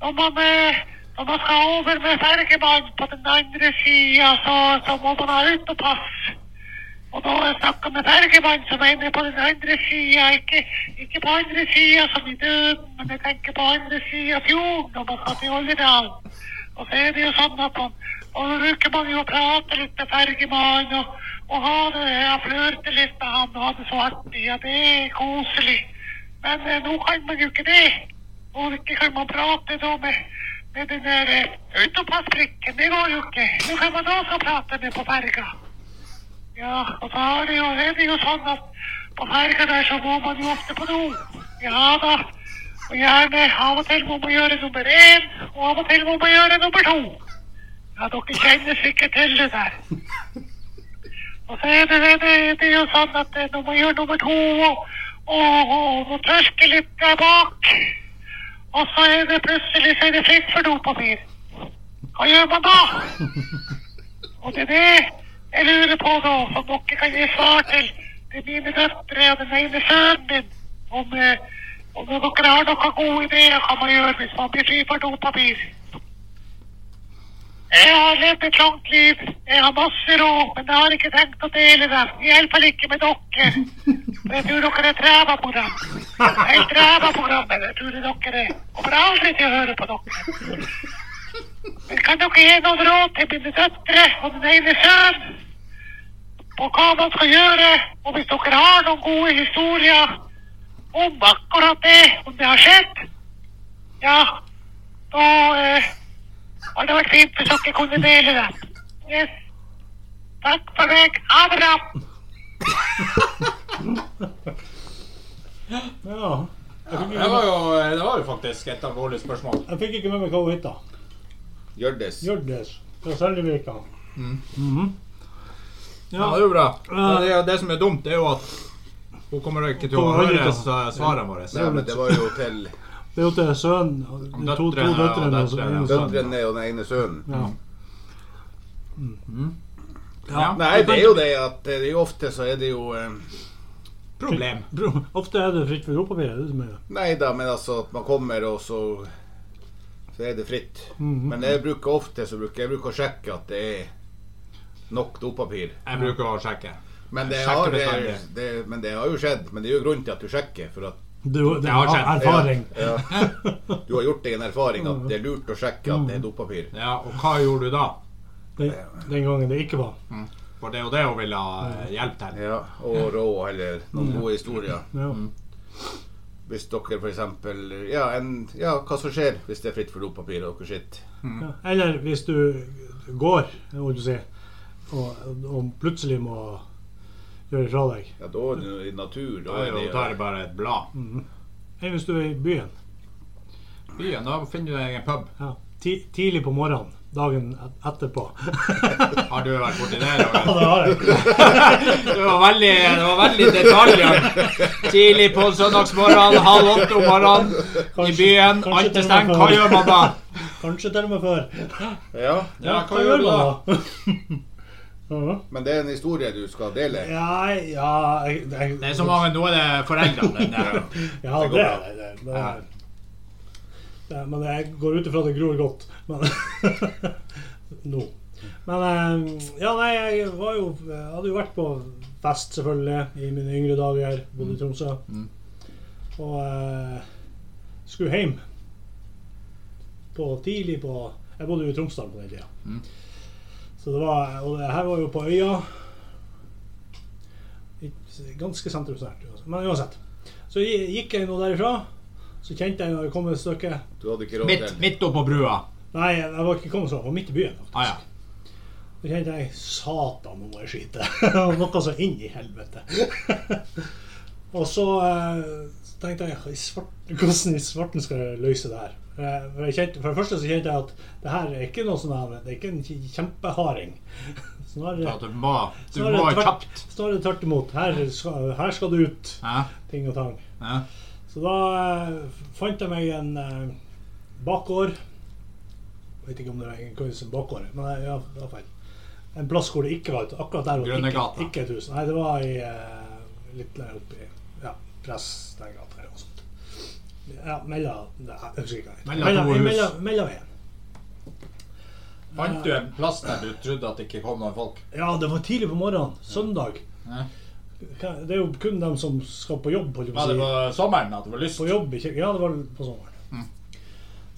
når man, eh, når man skal over med fergemann på den andre sida, så, så må man ha autopass. Og da har jeg snakka med fergemann som er inne på den andre sida, ikke, ikke på andre sida som i døden, men jeg tenker på andre sida av fjorden når man skal til Olderdalen. Og så er det jo sånn at man og da bruker man jo å prate litt med fergemannen og, og ha det, ja, flørte litt med han og ha det så artig. Ja, det er koselig. Men eh, nå kan man jo ikke det. Og ikke kan man prate da med, med den der eh, autopassbrikken. Det går jo ikke. Nå kan man også prate med på ferga. Ja, og da er det jo, er det jo sånn at på ferga der så må man jo ofte på do. Ja da. Og gjerne av og til må man gjøre nummer én, og av og til må man gjøre nummer to. Ja, dere kjenner sikkert til det der. Og så er det, det, det, det er jo sånn at eh, når man gjør nummer to og, og, og, og tørker litt der bak, og så er det plutselig så er det fritt for dopapir. Hva gjør man da? Og det er det jeg lurer på nå, som dere kan gi svar til. Det er mine døtre og den ene sønnen min. Om, eh, om dere har noen gode ideer hva man gjør hvis man blir fri for dopapir. Jeg har levd et langt liv. Jeg har masse råd, men jeg har ikke tenkt å dele det. I alle fall ikke med dere. For jeg tror dere er træva på dem. Helt ræva på dem, men jeg tror dere er. Kommer aldri til å høre på dere. Men kan dere gi noen råd til mine døtre og den ene sønn på hva man skal gjøre? Og hvis dere har noen gode historier om akkurat det, om det har skjedd, ja, da eh, hadde det vært fint hvis dere kunne dele det. Yes. Takk for meg. Ha det bra. Ja, jeg fikk, Det ikke, var jo, eh, det var jo faktisk et alvorlig spørsmål. jeg fikk ikke med meg hva hun het. da. Hjørdis. Hjørdis fra Seljevika. Mhm. Mm. Ja, det Ja, er jo bra. Det, er jo det som er dumt, det er jo at hun kommer ikke til å Hun kommer høre ikke til å- s- svarene våre. Nei, men det var jo til det er jo til sønnen de to, to Døtrene, ja, døtrene. og så- døtrene, ja. en sønn. døtrene og den ene sønnen. Ja. Ja, Nei, det er jo det at eh, det er jo ofte så er det jo eh, problem. Bro, Ofte er det fritt for dopapir. Det er det som er Nei da, men altså at man kommer, og så Så er det fritt. Men jeg bruker ofte så bruker jeg bruker å sjekke at det er nok dopapir. Jeg bruker å sjekke. Men det, Sjekker har, det, bestandig. det, men det har jo skjedd. Men det er jo grunn til at du sjekker. For at det, er jo- det Det har er skjedd. erfaring. Ja, ja. Du har gjort deg en erfaring at det er lurt å sjekke at det er dopapir. Ja, og hva gjorde du da? Den, den gangen det ikke var. For det er jo det hun vil ha eh, hjelp til. Mm. Ja, og rå eller noen gode historier. Ja. Hvis dere f.eks. Ja, en, ja, hva som skjer hvis det er fritt for dopapir og dere sitter Ja. Eller hvis du går, må du si, og, og plutselig må gjøre fra deg. Ja, da er det jo i natur. Da Da er det jo tar det bare et blad. Eller hvis du er i byen Byen, da finner du deg en pub. ja, ti, tidlig på morgenen dagen et- etterpå. Har du vært borti det? Roger? har jeg. Det var veldig, det var veldig detaljer. Tidlig på søndagsmorgenen, halv åtte om morgenen, i byen. kanskje Alt til og med er stengt. før. Hva gjør man da? Kanskje til og med før. Ja, Ja, hva gjør du da? da? Men det er en historie du skal dele. Ja, ja jeg, jeg, Det er så mange, Nå er det foreldrene. den der. Ja, Det det, det, går bra. det, det, det, Ja. det Men jeg går ut ifra det gror godt. Men nå. Men eh, ja, nei, jeg var jo Jeg hadde jo vært på fest, selvfølgelig, i mine yngre dager. Bodde i Tromsø. Mm. Og eh, skulle hjem på tidlig på Jeg bodde jo i Tromsdalen på den tida. Mm. Så det var Og det her var jo på øya. Ikke- Ganske sentrumsnært. altså. Men uansett. Så gi- gikk jeg nå derifra. Så kjente jeg når jeg kom et stykke Du hadde ikke råd Midt, til midt oppå brua. Nei, jeg var ikke kommet så langt. Jeg var midt i byen. faktisk. Ah, ja. Så kjente jeg Satan, nå må jeg skyte. Det var Noe så inn i helvete. og så eh, så tenkte jeg «Hva i svart- hvordan i svarten skal jeg løse det her? Eh, For, jeg kjente, for det første så kjente jeg at det her er ikke noe sånn her, det er ikke en kj- kjempeharding. Så Snarere, at du må, du snarere må tvert- kjapt. snarere tvert imot. Her skal, her skal det ut Ja, ting og tang. ja. Så da eh, fant jeg meg en eh, bakgård. Jeg vet ikke om det var en køys en bakgård, men jeg, ja, det var feil. En plass hvor det ikke var et Akkurat der var det Grønnegata. ikke, ikke et hus. Nei, det var i, eh, litt lenger oppe i ja, Prestengata eller noe sånt. Ja, mellom Nei, jeg husker ikke. Mellom Mellom- to hus. mellom- Mellom en. Fant du en plass der du trodde at det ikke kom noen folk? Ja, det var tidlig på morgenen. Søndag. Ja. Hva- Det er jo kun dem som skal på jobb. holdt jeg på å Var si. det på sommeren at det var lyst? På jobb i kirken? Ja, det var på sommeren.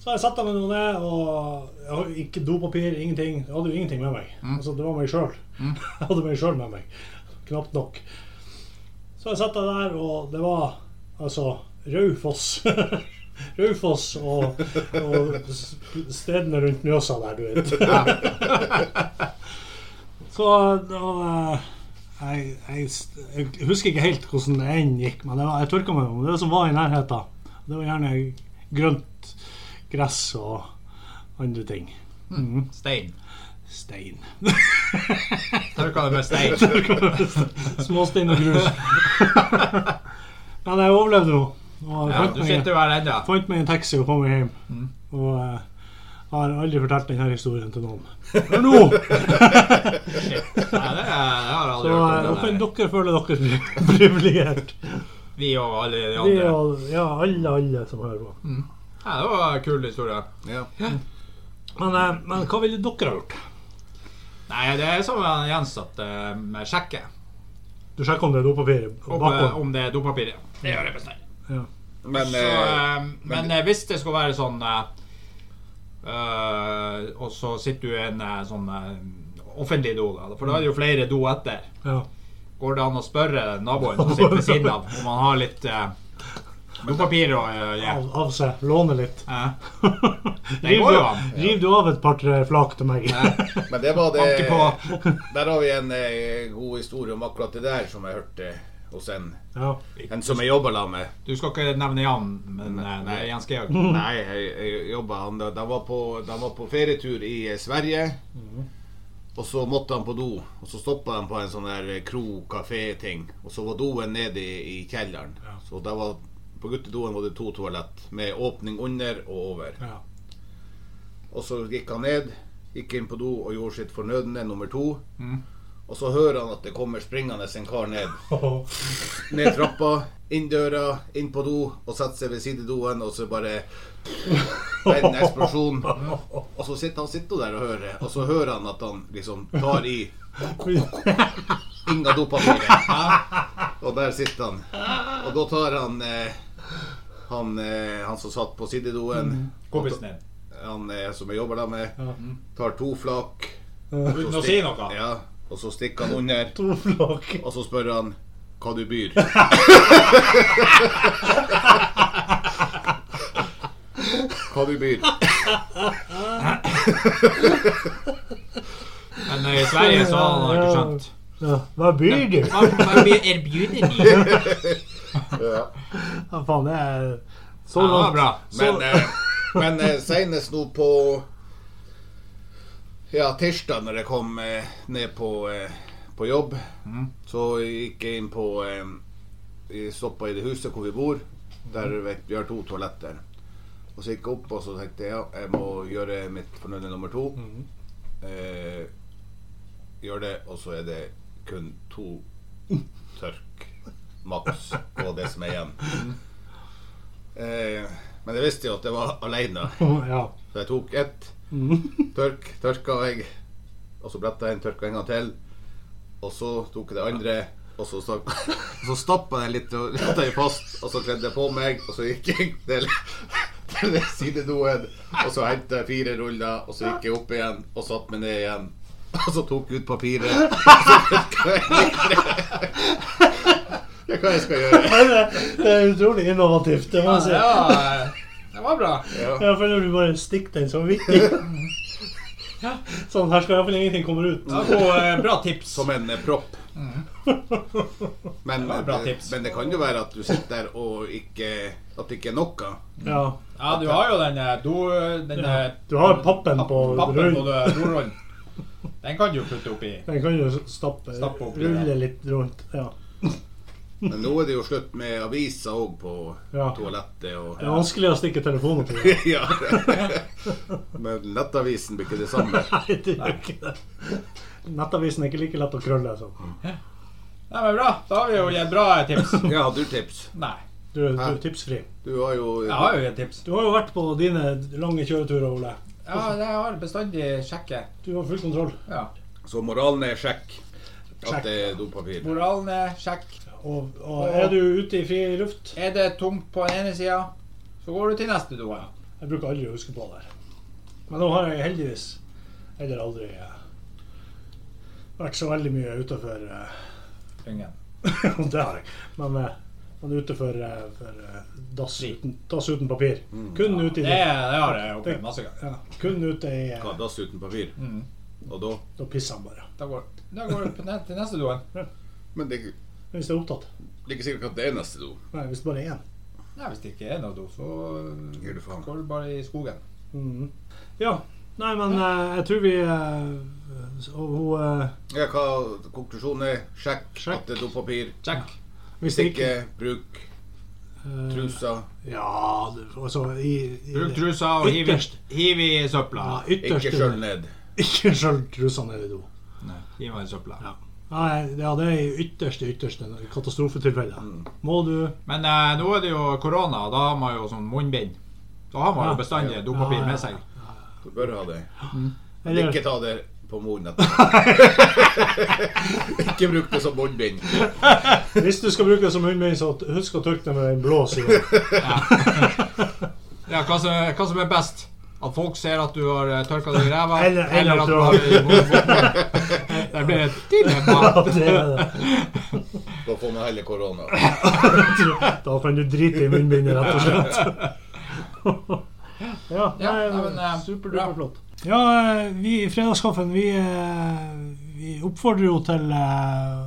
Så jeg satte meg nå ned, og jeg hadde ikke dopapir, ingenting. Jeg hadde jo ingenting med meg. Altså, det var meg sjøl. Jeg hadde meg sjøl med meg. Knapt nok. Så jeg satt meg der, og det var altså Raufoss. Raufoss og, og s- stedene rundt Mjøsa der, du vet. Så da eh, jeg, jeg, st- jeg husker ikke helt hvordan det enn gikk, men det var, jeg tørka meg om det som var i nærheten. Det var gjerne grønt gress og andre ting. Mhm. Stein. Stein. Tørka det med stein. Småstein og grus. men jeg overlevde nå. Og jeg Ja, fant, du meg, sitter jo her ennå. fant meg en taxi og kom meg hjem. Og eh, jeg har aldri fortalt denne historien til noen. Hør nå! Ja, det, er- det har jeg Så aldri eh, nå hørt om. kan det der. dere føle dere privilegert. Vi og alle de Vi andre. og ja, alle, alle som hører på. Ja, det var en kul historie. det. Ja. Men, eh, men hva ville dere ha gjort? Nei, det er som han Jens at eh, jeg sjekker Du sjekker om det er dopapir om, eh, bakpå? om det er dopapir. ja. Det gjør jeg bestandig. Men, så, eh, eh, men eh, hvis det skulle være sånn eh, eh, Og så sitter du i en eh, sånn eh, offentlig do, da, for da er det jo flere do etter. Ja. Går det an å spørre naboen som sitter ved siden av, om han har litt eh, dopapir å eh, gi? Av, av seg. Låne litt. Eh, Det riv, går du, jo an. riv du av et par-tre flak til meg? men det var det Banke på. Der har vi en eh, god historie om akkurat det der som jeg hørte hos en, ja. en som jeg jobba sammen med. Du skal ikke nevne Jan, men eh, det er Jens Georg. Nei, jeg, jeg jobba han da- da var på, da var på ferietur i eh, Sverige. Og så måtte han på do, og så stoppa han på en sånn der eh, kro kafé-ting. Og så var doen nede i, i kjelleren. Så da var, på guttedoen var det to toalett med åpning under og over. Ja. Og så gikk han ned, gikk inn på do og gjorde sitt fornødne nummer to. Mhm. Og så hører han at det kommer springende en kar ned. Og Ned trappa, inn døra, inn på do og setter seg ved sidedoen, og så bare en eksplosjon. Og så sitter han sitter der og hører, og så hører han at han liksom tar i inga dopapiret. Og der sitter han. Og da tar han eh, han, eh, han som satt på Mm. sidedoen, Kompisen din. han eh, som jeg jobber da med, Ja. tar to flak. Uten å si noe. Ja, og så stikker han under. to flak. Og så spør han hva du byr. Paddybyr. Men eh, i Sverige så har han ikke skjønt. Ja. Hva byr du? Hva, hva blir erbjudet ni? Ja, Ja. Ja, faen, det er så det var langt. bra. Men, eh, men eh, senest nå på Ja, tirsdag når jeg kom eh, ned på, eh, på jobb, så gikk jeg inn på eh, jeg Stoppa i det huset hvor vi bor. Der vet, vi har to toaletter. Og så gikk jeg opp og så tenkte jeg, ja, jeg må gjøre mitt fornøyde nummer to. Eh, gjør det, og så er det kun to tørk maks på det som er igjen. Eh, men jeg visste jo at jeg var aleine, Ja. så jeg tok ett tørk, tørka jeg, og så bretta jeg en tørka en gang til, og så tok jeg det andre, og så, stak- og så stappa jeg litt og retta i fast, og så kledde jeg på meg, og så gikk jeg til til den sidedoen, og så henta jeg fire ruller, og så gikk jeg opp igjen og satte meg ned igjen. Og så tok jeg ut papiret. og så tørka jeg videre. Det er hva jeg skal gjøre. Men det, det er utrolig innovativt, det må jeg si. det var, eh, det var bra. Ja. Ja, for når du bare stikker den så viktig. Ja. Sånn, her skal iallfall ingenting komme ut. Det var god, eh, bra tips. Som en eh, propp. Men, Det var et bra men, tips. men det kan jo være at du sitter der og ikke At det ikke er noe. Ja. Ja, du har jo den eh, do... Den, Ja. eh, Du har pappen på pappen på rull. do- dorullen. Den kan du jo putte oppi. Den kan jo stappe, Stappe oppi, ja. rulle litt rundt. Ja. Men nå er det jo slutt med aviser òg på Ja. toalettet og Det er vanskelig å stikke telefonen oppi. der. Ja. Men nettavisen blir ikke det samme. Nei, det gjør ikke det. Nettavisen er ikke like lett å krølle som. Nei, men bra. Da har vi jo gitt bra eh, tips. Ja, har du tips? Nei. Du, du er tipsfri. Du har jo Jeg har jo gitt tips. Du har jo vært på dine lange kjøreturer, Ole. Ja, det har bestandig sjekke. Du har full kontroll. Ja. Så moralen er sjekk at det er dopapir. Moralen er sjekk. Og, og er du ute i fri luft Er det tomt på den ene sida, så går du til neste do. Ja. Jeg bruker aldri å huske på det. Men nå har jeg heldigvis heller aldri eh, vært så veldig mye utenfor eh, Ingen. Det har jeg. Men, eh, men utenfor eh, for, eh, dass, uten, dass uten papir. Mm. Kun ute i Det, det. det har jeg opplevd masse ganger. Ja, kun ute i eh, Hva, Dass uten papir. Mm. Og da Da pisser han bare. Da går, da går du på ne til neste doen. Men det er ikke- Hvis det er opptatt. det er ikke sikkert at det er neste do. Nei, hvis det bare er én. Nei, hvis det ikke er noe do, så Gir du faen. går du bare i skogen. Mhm. Ja. Nei, men eh, jeg tror vi eh, s- Og hun eh, Ja, hva konklusjonen er? Sjekk, Sjekk. at det er dopapir. Sjekk. Hvis Hvis det ikke ikke, bruk eh, trusa. Ja, du- altså i, i Bruk trusa og hiv, i- Ytterst. hiv i søpla. Ja, Ikke ytterst sjøl ned. Ikke sjøl trusa ned i do. Hiv i søpla. Ja. Nei, ja, det er i ytterste, ytterste katastrofetilfeller. Mm. Må du Men eh, nå er det jo korona, og da har man jo sånn munnbind. Da har man Ja. jo bestandig Ja, dopapir ja, med seg. Du bør ha det. Eller- Ikke ta det på munnen ikke bruk det som munnbind. Hvis du skal bruke det som munnbind, så t- husk å tørke det med den blå sida. Ja, hva som, hva som er best? At folk ser at du har eh, tørka deg i ræva? Eller- eller at at du du har det i munnen? Det blir et dilemma. Det er det. Da får man heller korona. Da kan du drite i munnbindet, rett og slett. Ja, Ja, nei, nei, men, eh, bra. superduperflott. Ja, eh, vi i Fredagskaffen vi, eh, vi oppfordrer jo til eh,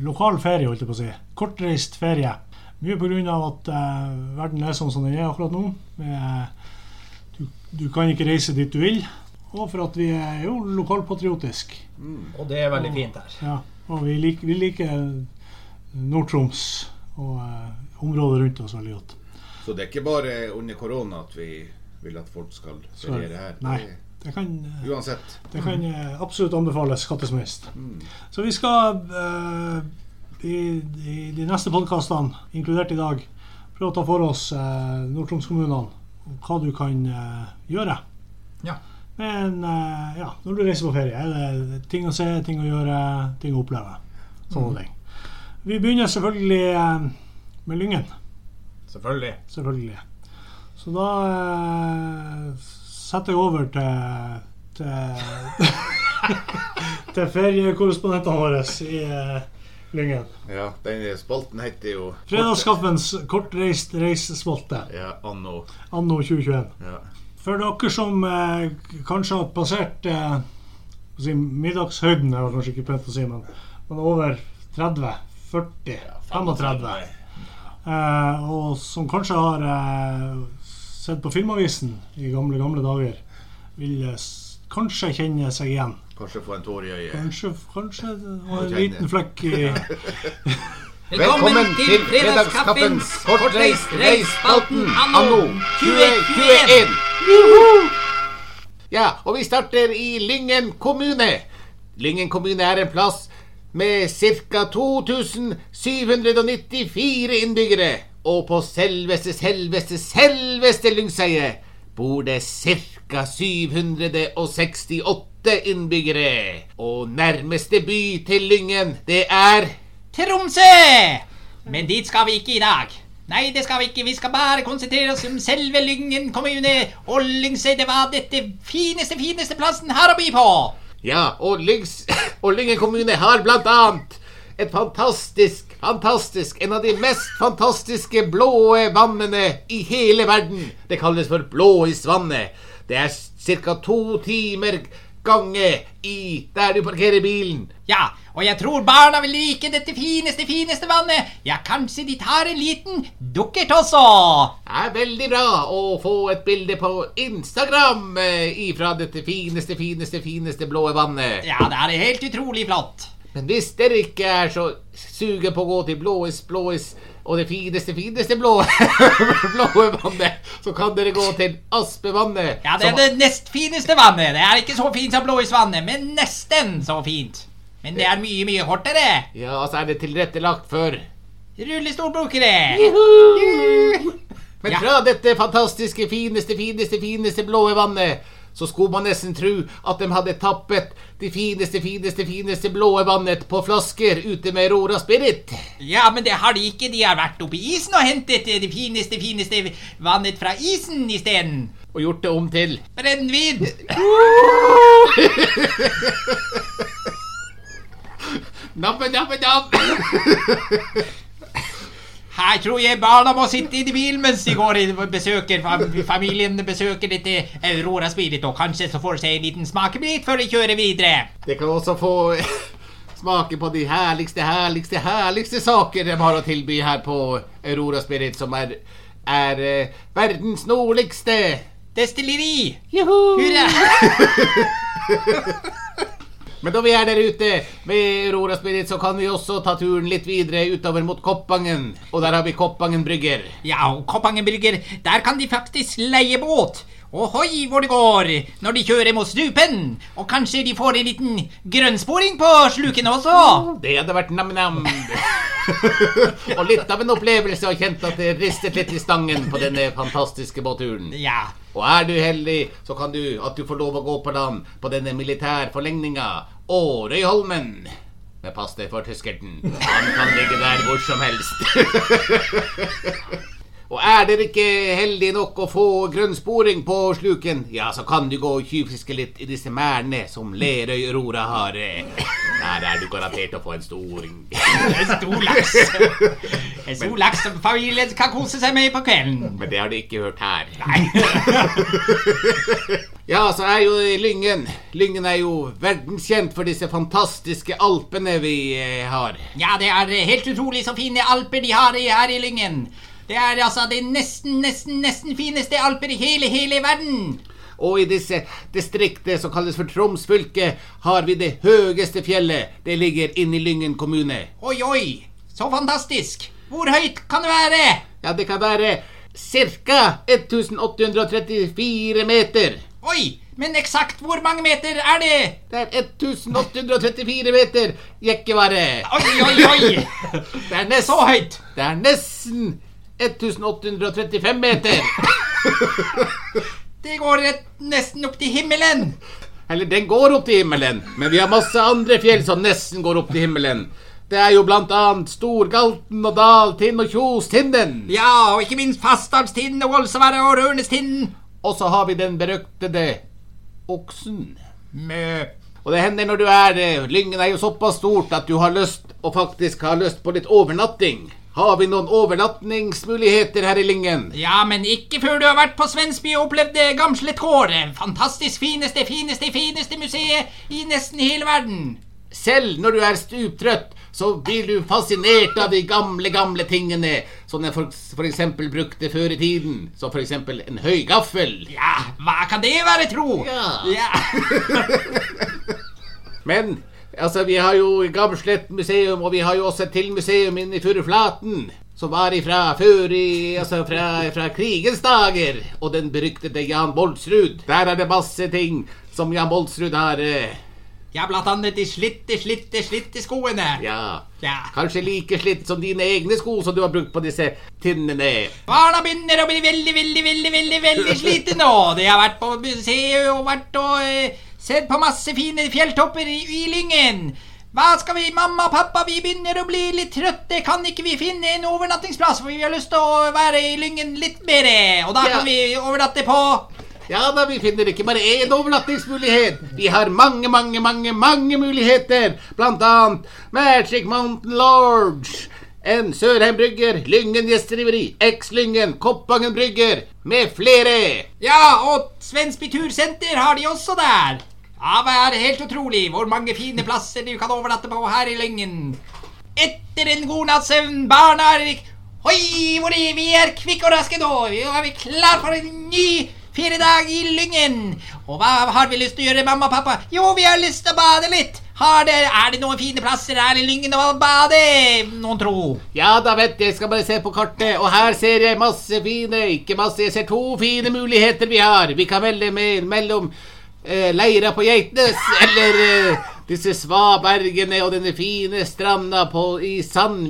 lokal ferie, holdt jeg på å si. Kortreist ferie. Mye pga. at eh, verden er sånn som den er akkurat nå. Med, eh, du, du kan ikke reise dit du vil. Og for at vi er jo lokalpatriotiske. Og det er veldig fint her. Ja, og vi liker, vi liker Nord-Troms og eh, området rundt oss veldig godt. Så det er ikke bare under korona at vi vil at folk skal feriere her. Nei. Det- Det kan, eh, Uansett. det kan eh, absolutt anbefales kattesmeist. Så vi skal eh, i, i de neste podkastene, inkludert i dag, prøve å ta for oss eh, Nord-Troms-kommunene og hva du kan eh, gjøre. Ja. Men eh, ja, når du reiser på ferie, er det ting å se, ting å gjøre, ting å oppleve. Sånne ting. Vi begynner selvfølgelig eh, med Lyngen. Selvfølgelig. Selvfølgelig. Så da eh, setter jeg over til til, til feriekorrespondentene våre i eh, Lyngen. Ja, den spalten heter jo Fredagskaffens kortreist reisspalte Ja, anno. anno 2021. Ja. For dere som eh, k- kanskje har passert eh, hva skal jeg si, middagshøyden, er det kanskje ikke pent å si, men, men over 30, 40, 35, eh, og som kanskje har eh, sett på Filmavisen i gamle, gamle dager, vil eh, s- kanskje kjenne seg igjen. Kanskje få en tår i øyet. Kanskje, kanskje det var en Kjenne. liten flekk i Velkommen til fredagskaffens kortreist reisspalten anno 2021! Ja, og vi starter i Lyngen kommune. Lyngen kommune er en plass med ca. 2794 innbyggere. Og på selveste, selveste, selveste Lyngseie bor det ca. 768 innbyggere. Og nærmeste by til Lyngen, det er Tromsø! Men dit skal vi ikke i dag. Nei, det skal vi ikke. Vi skal bare konsentrere oss om selve Lyngen kommune. Og Lyngsøy, det var dette fineste, fineste plassen har å by på. Ja, og, Lyngs, og Lyngen kommune har blant annet et fantastisk, fantastisk, en av de mest fantastiske blå vannene i hele verden. Det kalles for Blåisvannet. Det er ca. to timer gange i der du parkerer bilen. Ja, og jeg tror barna vil like dette fineste, fineste vannet. Ja, kanskje de tar en liten dukkert også. Det er veldig bra å få et bilde på Instagram eh, ifra dette fineste, fineste, fineste blå vannet. Ja, det er helt utrolig flott. Men hvis dere ikke er så suge på å gå til blåis, blåis og det fineste, fineste blå, blåe vannet, så kan dere gå til Aspevannet. Ja, det er som- det nest fineste vannet. Det er ikke så fint som Blåisvannet, men nesten så fint. Men det er mye, mye kortere. Ja, så er det tilrettelagt for Rullestolbrukere. Men Ja. fra dette fantastiske, fineste, fineste, fineste blåe vannet, så skulle man nesten tro at de hadde tappet det fineste, fineste, fineste blåe vannet på flasker ute med Rora Spirit. Ja, men det har de ikke. De har vært oppe i isen og hentet det fineste, fineste vannet fra isen isteden. Og gjort det om til Brennevin. Nappe, nappe, napp. Her tror jeg barna må sitte i bilen mens de går i besøker fam- familien besøker dette Aurora Spirit, og kanskje så får seg en liten smakebit før de kjører videre. Det kan også få smake på de herligste, herligste, herligste saker de har å tilby her på Aurora Spirit, som er, er eh, verdens nordligste. Destilleri. Juhu! Hurra. Men da vi er der ute med Aurora Spirit, så kan vi også ta turen litt videre utover mot Koppangen. Og der har vi Koppangen brygger. Ja, og Koppangenbrygger, der kan de faktisk leie båt. Ohoi, hvor det går når de kjører mot stupen. Og kanskje de får en liten grønnsporing på sluken også. Det hadde vært nam-nam. og litt av en opplevelse å kjenne at det ristet litt i stangen på denne fantastiske båtturen. Ja, Og er du heldig, så kan du at du får lov å gå på land på denne militærforlegninga Årøyholmen. Men pass deg for tyskerten. Han kan ligge der hvor som helst. Og er dere ikke heldige nok å få grønnsporing på sluken, ja, så kan du gå og tjuvfiske litt i disse merdene som Lerøy Aurora har. eh. Der er du garantert å få en storing. en stor laks. En stor laks som familien kan kose seg med på kvelden. Men det har de ikke hørt her. ja, så er jo Lyngen Lyngen er jo verdenskjent for disse fantastiske alpene vi eh, har. Ja, det er helt utrolig så fine alper de har i- her i Lyngen. Det er altså det nesten, nesten, nesten fineste alper i hele, hele verden. Og i disse distriktet som kalles for Troms fylke, har vi det høyeste fjellet. Det ligger inne i Lyngen kommune. Oi, oi, så fantastisk. Hvor høyt kan det være? Ja, det kan være ca. 1834 meter. Oi, men eksakt hvor mange meter er det? Det er 1834 meter, jekkevare. Oi, oi, oi! Det er nesten Så høyt! Det er nesten 1835 meter. Det går rett, nesten opp til himmelen. Eller, den går opp til himmelen, men vi har masse andre fjell som nesten går opp til himmelen. Det er jo blant annet Storgalten og Daltind og Kjostinden. Ja, og ikke minst Fastdalstinden og Ålseværet og Rørnestinden. Og så har vi den beryktede oksen. Mø. Og det hender når du er eh, Lyngen er jo såpass stort at du har lyst og faktisk har lyst på litt overnatting. Har vi noen overnattingsmuligheter her i Lyngen? Ja, men ikke før du har vært på Svensby og opplevd det gamsle kåret. Fantastisk fineste, fineste, fineste museet i nesten hele verden. Selv når du er stuptrøtt, så blir du fascinert av de gamle, gamle tingene som den for, for eksempel brukte før i tiden. Som for eksempel en høygaffel. Ja, hva kan det være, tro? Ja. ja. Men altså, vi har jo Gamslett museum, og vi har jo også et til museum inne i Furuflaten. Som var ifra før i Altså fra, fra krigens dager. Og den beryktede Jan Bolsrud. Der er det masse ting som Jan Bolsrud har eh, ja, blant annet de slitte, slitte, slitte skoene. Ja. Ja. Kanskje like slitt som dine egne sko som du har brukt på disse tinnene. Barna begynner å bli veldig, veldig, veldig veldig, veldig slitne nå. De har vært på museet og vært og eh, sett på masse fine fjelltopper i, i Lyngen. Hva skal vi, mamma og pappa, vi begynner å bli litt trøtte. Kan ikke vi finne en overnattingsplass? For vi har lyst til å være i Lyngen litt mer. Og da Ja. kan vi overnatte på Ja, men vi finner ikke bare én overnattingsmulighet. Vi har mange, mange, mange mange muligheter. Blant annet Magic Mountain Lodge. En Sørheim Brygger, Lyngen Gjesteriveri, X-Lyngen, Koppangen Brygger, med flere. Ja, og Svensby tursenter har de også der. Ja, det er helt utrolig hvor mange fine plasser du kan overnatte på her i Lyngen. Etter en god natts søvn, barna er Hoi, hvor er vi er kvikke og raske nå. Vi er klar for en ny feriedag i Lyngen. Og hva har vi lyst til å gjøre, mamma og pappa? Jo, vi har lyst til å bade litt. Har det, er det noen fine plasser her i Lyngen å bade? Noen tro? Ja, da vet jeg. Jeg skal bare se på kartet. Og her ser jeg masse fine Ikke masse, jeg ser to fine muligheter vi har. Vi kan velge med, mellom eh, leira på Geitnes eller eh, disse svabergene og denne fine stranda på, i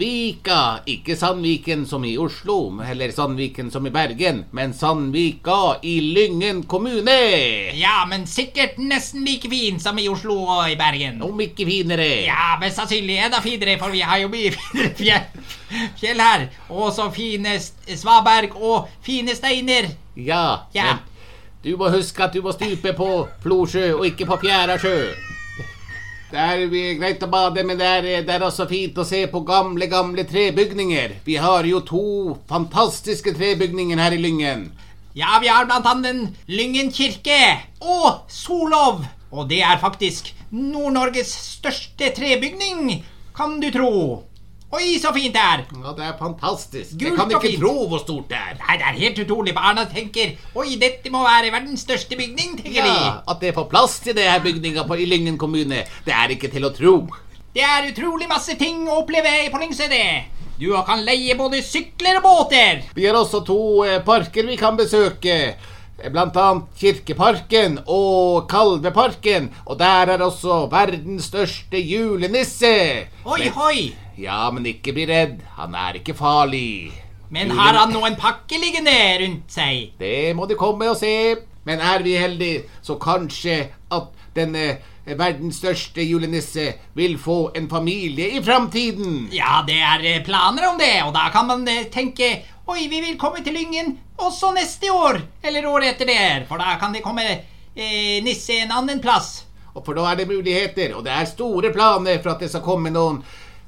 Sandvika. Ikke Sandviken som i Oslo, eller Sandviken som i Bergen, men Sandvika i Lyngen kommune. Ja, men sikkert nesten like fin som i Oslo og i Bergen. Om ikke finere. Ja, mest sannsynlig enda finere, for vi har jo mye finere fjell, fjell her. Og så fine s- svaberg og fine steiner. Ja. Ja. Men du må huske at du må stupe på Flosjø, og ikke på Fjærasjø. Det er vi- greit å bade, men det er, det er også fint å se på gamle, gamle trebygninger. Vi har jo to fantastiske trebygninger her i Lyngen. Ja, vi har blant annet Lyngen kirke og Solov. Og det er faktisk Nord-Norges største trebygning, kan du tro. Oi, så fint det er. Ja, det er fantastisk. Gult Jeg kan og ikke fint. tro hvor stort det er. Nei, det er helt utrolig. Barna tenker Oi, dette må være verdens største bygning, tenker Ja, at det får plass til det her bygninga på- i Lyngen kommune, det er ikke til å tro. de. Det er utrolig masse ting å oppleve på Lyngsøydet. Du kan leie både sykler og båter. Vi har også to eh, parker vi kan besøke. Eh, Blant annet Kirkeparken og Kalveparken. Og der er også verdens største julenisse. Oi, men, hoi. ja, men ikke bli redd. Han er ikke farlig. Men har han noen pakke liggende rundt seg? Det må du komme og se. Men er vi heldige, så kanskje at denne eh, verdens største julenisse vil få en familie i framtiden. Ja, det er eh, planer om det, og da kan man eh, tenke Oi, vi vil komme til Lyngen også neste år, eller året etter det, for da kan det komme eh, nisse en annen plass. Og for da er det muligheter, og det er store planer for at det skal komme noen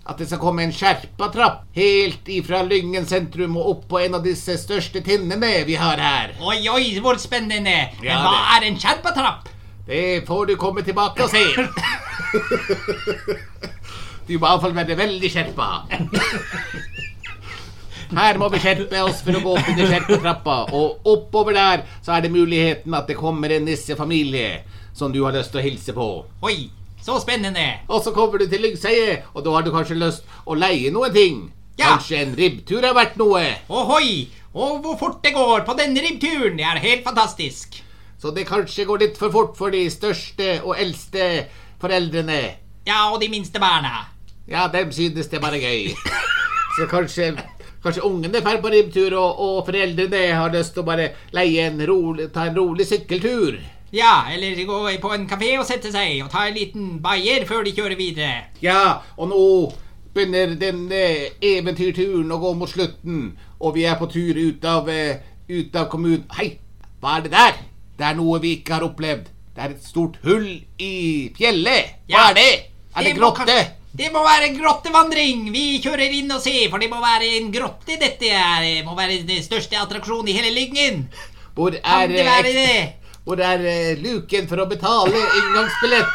at det skal komme en skjerpa trapp helt ifra Lyngen sentrum og opp på en av disse største tinnene vi har her. Oi, oi, hvor spennende. Men Ja, det. hva er en skjerpatrapp? Det får du komme tilbake og se. Du må iallfall være veldig skjerpa. Her må vi skjerpe oss for å gå opp under skjerpetrappa, og oppover der så er det muligheten at det kommer en nissefamilie som du har lyst til å hilse på. Oi, så spennende. Og så kommer du til Lyngseie, og da har du kanskje lyst å leie noen ting. Ja. Kanskje en ribbtur har vært noe. Ohoi, og hvor fort det går på denne ribbturen. Det er helt fantastisk. Så det kanskje går litt for fort for de største og eldste foreldrene. Ja, og de minste barna. Ja, dem synes det bare er gøy. Så kanskje, kanskje ungene drar på ribbtur, og, og foreldrene har lyst til å bare leie en rolig, ta en rolig sykkeltur. Ja, eller gå på en kafé og sette seg og ta en liten bayer før de kjører videre. Ja, og nå begynner denne eventyrturen å gå mot slutten, og vi er på tur ut av, eh, ut av kommunen. Hei, hva er det der? Det er noe vi ikke har opplevd. Det er et stort hull i fjellet. Hva Ja. er det? Er det må grotte? kanskje- Det må være grottevandring! Vi kjører inn og ser, for det må være en grotte dette er. Det må være den største attraksjonen i hele Lyngen. Hvor Kan er, det være eh, det? hvor er eh, luken for å betale inngangsbillett?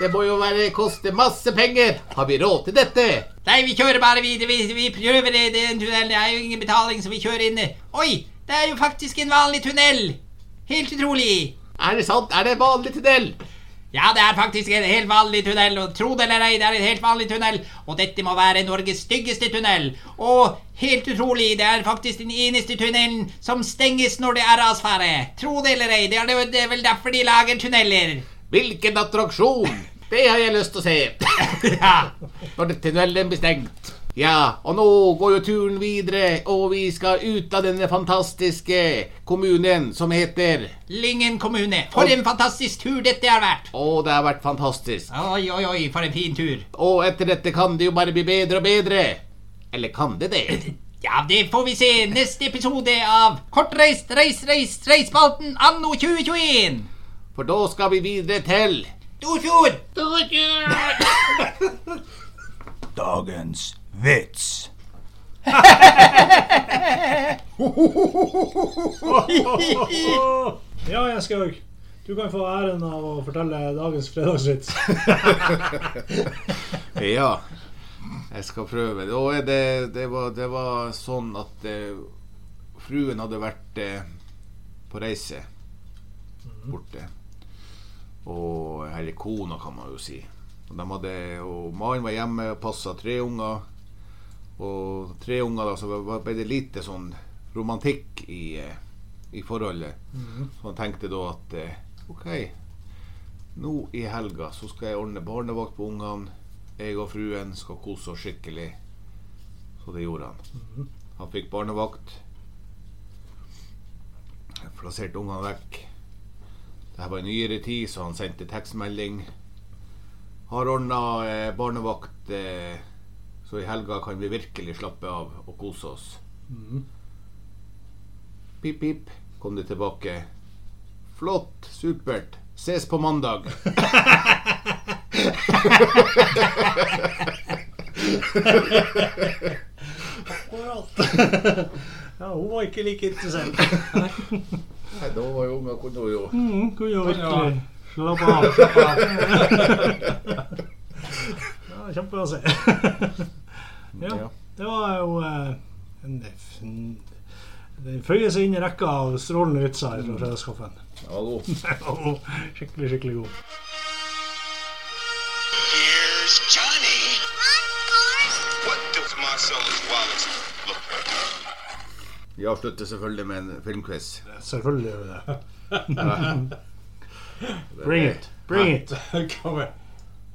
Det må jo være, koste masse penger. Har vi råd til dette? Nei, vi kjører bare videre. Vi, vi prøver det. Det er en tunnel. Det er jo ingen betaling, så vi kjører inn. Oi! Det er jo faktisk en vanlig tunnel. Helt utrolig. Er det sant? Er det en vanlig tunnel? Ja, det er faktisk en helt vanlig tunnel, og tro det eller ei, det er en helt vanlig tunnel. Og dette må være Norges styggeste tunnel. Og helt utrolig, det er faktisk den eneste tunnelen som stenges når det er rasfare. Tro det eller ei, det er, det er vel derfor de lager tunneler. Hvilken attraksjon? Det har jeg lyst til å se. Ja. Når tunnelen blir stengt. Ja, og nå går jo turen videre, og vi skal ut av denne fantastiske kommunen som heter Lyngen kommune. For en fantastisk tur dette har vært. Å, det har vært fantastisk. Oi, oi, oi, for en fin tur. Og etter dette kan det jo bare bli bedre og bedre. Eller kan det det? Ja, det får vi se neste episode av Kortreist, reis, reis, reisspalten anno 2021. For da skal vi videre til Storfjord! Dagens vits. Ja, jeg skal òg. Du kan få æren av å fortelle dagens fredagsvits. Ja. Jeg skal prøve. Og er det, det, var, det var sånn at eh, fruen hadde vært eh, på reise borte. Og Eller kona, kan man jo si. Og, de hadde, og mannen var hjemme og passa tre unger. Og tre unger, da, så var- var- ble det lite sånn romantikk i, eh, i forholdet. Så han tenkte da at eh, OK, nå i helga så skal jeg ordne barnevakt på ungene. Jeg og fruen skal kose oss skikkelig. Så det gjorde han. Han fikk barnevakt. Jeg Plasserte ungene vekk. Dette var i nyere tid, så han sendte tekstmelding. Har ordna eh, barnevakt, eh, så i helga kan vi virkelig slappe av og kose oss. Mhm. Pip, pip, kom det tilbake. Flott, supert. Ses på mandag. Ja, hun var ikke like interessert. Nei, da var jo unga kunne jo Mm, kunne jo Ja. virkelig slappe av. Slappe av. Ja, Kjempebra å se. Ja, Ja. det var jo eh, en en- Den føyer seg inn i rekka av strålende vitser her fra fredagskaffen. Hallo. Den var god. Skikkelig, skikkelig god. Here's Johnny. What do Marcella's wallet look like? Vi avslutter selvfølgelig med en filmquiz. Selvfølgelig gjør vi det. Bring it. Bring it. Kommer.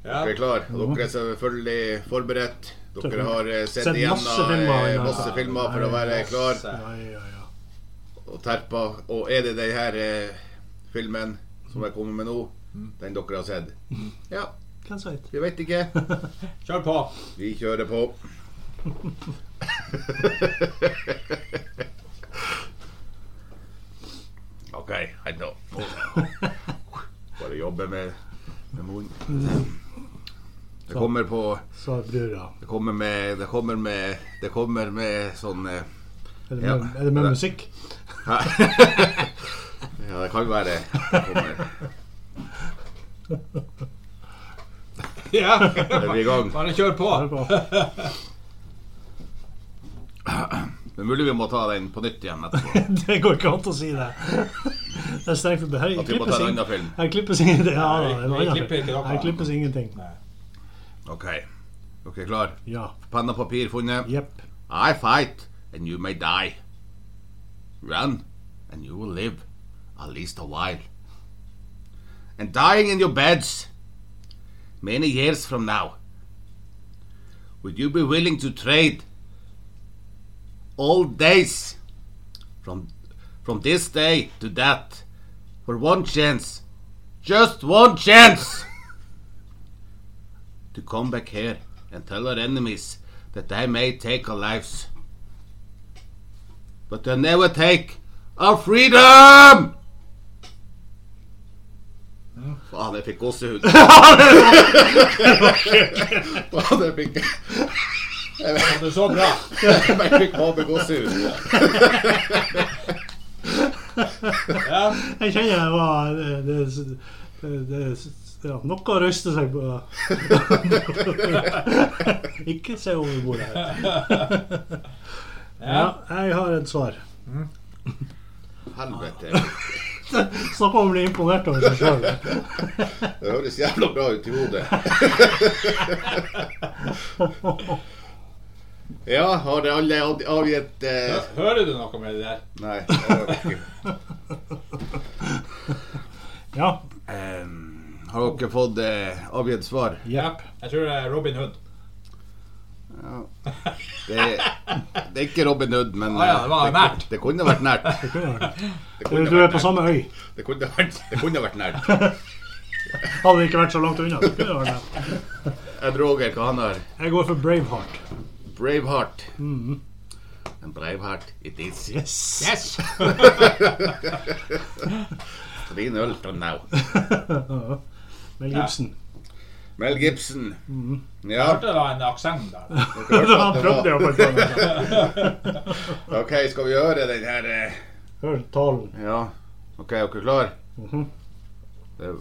Er vi klar? Og Dere er selvfølgelig forberedt. Dere har eh, sett Sett igjennom masse filmer. eh, masse filmer for å være klar Ja, ja, ja. og terpa. Og er det den her eh, filmen som jeg kommer med nå, Mm. den dere har sett? Ja, Hvem som vet? vi vet ikke. Kjør på. Vi kjører på. OK, hei nå. Bare jobbe med, med munnen. Det kommer på Sa brura. Det kommer med Det kommer med, det kommer med sånn eh, Er det Ja. med, er det med musikk? Ja, det kan være det kommer. Ja. Er vi i gang? Bare kjør på. Hør på. Det er mulig vi må ta den på nytt igjen etterpå. Det går ikke an å si det. Det er strengt forbudt. Her At vi må ta klippes en ing- annen film. her klippes ingenting. Ja, da, Nei, det er en annen vi klipper ikke film. noe. Her klippes ingenting. OK. Dere er klar? Ja. Penn og papir funnet? Jepp. I fight, and you may die. Run, and you will live, at least a while. And dying in your beds, many years from now, would you be willing to trade all days from from this day to that for one chance, just one chance, to come back here and tell our enemies that they may take our lives, but they'll never take our freedom. Faen, jeg fikk gåsehud. Og det fikk jeg. Det er så bra. Jeg fikk både gåsehud. Ja. Jeg kjenner det var det, det, det, det ja, Noe å røyste seg på. Ikke se over bordet her. Ja, jeg har et svar. Helvete. Snakk om å bli imponert over seg sjøl. Det høres jævla bra ut i hodet. Ja, har det alle ad- avgitt eh, Hører du noe med det der? Nei. det har jeg ikke. Ja. Ehm, Har dere fått eh, avgitt svar? Jepp. Jeg tror det er Robin Hood. Det, det er ikke Robin Hood, men Ah, ja, det var eh, nært. det kunne vært nært. Det kunne vært. Det Du, kunne du er vært på nært. samme øy. Det kunne vært, det kunne vært nært. Hadde det ikke vært så langt unna. så kunne det vært det. Jeg droger hva han har. Jeg går for Braveheart. Braveheart. Mhm. En Braveheart it is. Yes. Yes! 3-0 for now. Mel Gibson. Mel Gibson. Ja, Hørte det var en aksent der. Mhm. Han prøvde jo på et eller annet. OK, skal vi gjøre den her eh, Hør talen. Ja, OK, er dere klar? Mhm. Det,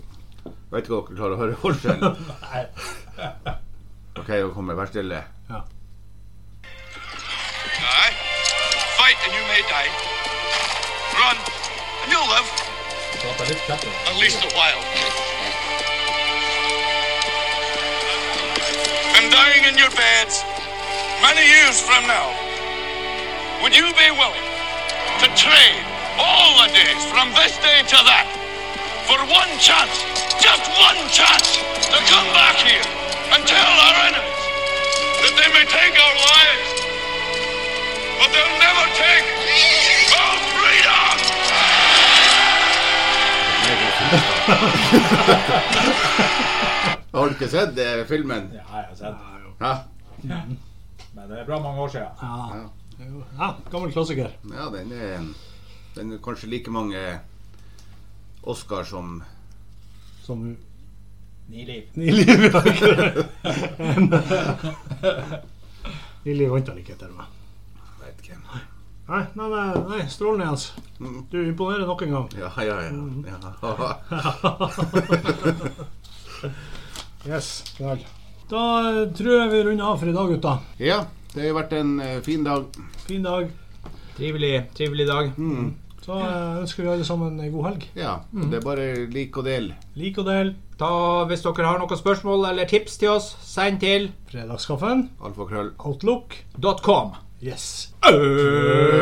vet ikke om dere klarer å høre forskjellen. OK, nå kommer vær stille. Alright? Fight and you may die. Run and you'll live. Prater litt kjappere. At least a while. And dying in your beds many years from now, would you be willing to trade all the days from this day to that for one chance, just one chance, to come back here and tell our enemies that they may take our lives, but they'll never take our freedom? Har du ikke sett eh, filmen? Ja, jeg har sett. Hæ? Men det er bra mange år siden. Ja. ja. Gammel klassiker. Ja, den er, den er kanskje like mange Oscar som Som hun Ni liv. Nili Bjørk. Nili vant vel ikke, til og med. Vet ikke. Nei, nei, nei, nei strålende, Jens. Du imponerer nok en gang. Ja, ja, ja. Mm. ja. Yes. Vel. Da eh, tror jeg vi runder av for i dag, gutta. ja det har vært en eh, fin dag. Fin dag. Trivelig, trivelig dag. Så eh, ønsker vi alle sammen en god helg. Ja, Mm. det er bare lik og del. Lik og del. Ta, hvis dere har noen spørsmål eller tips til oss, send til Fredagskaffen. Alfakrøll. Outlook. .com. Yes. Øh.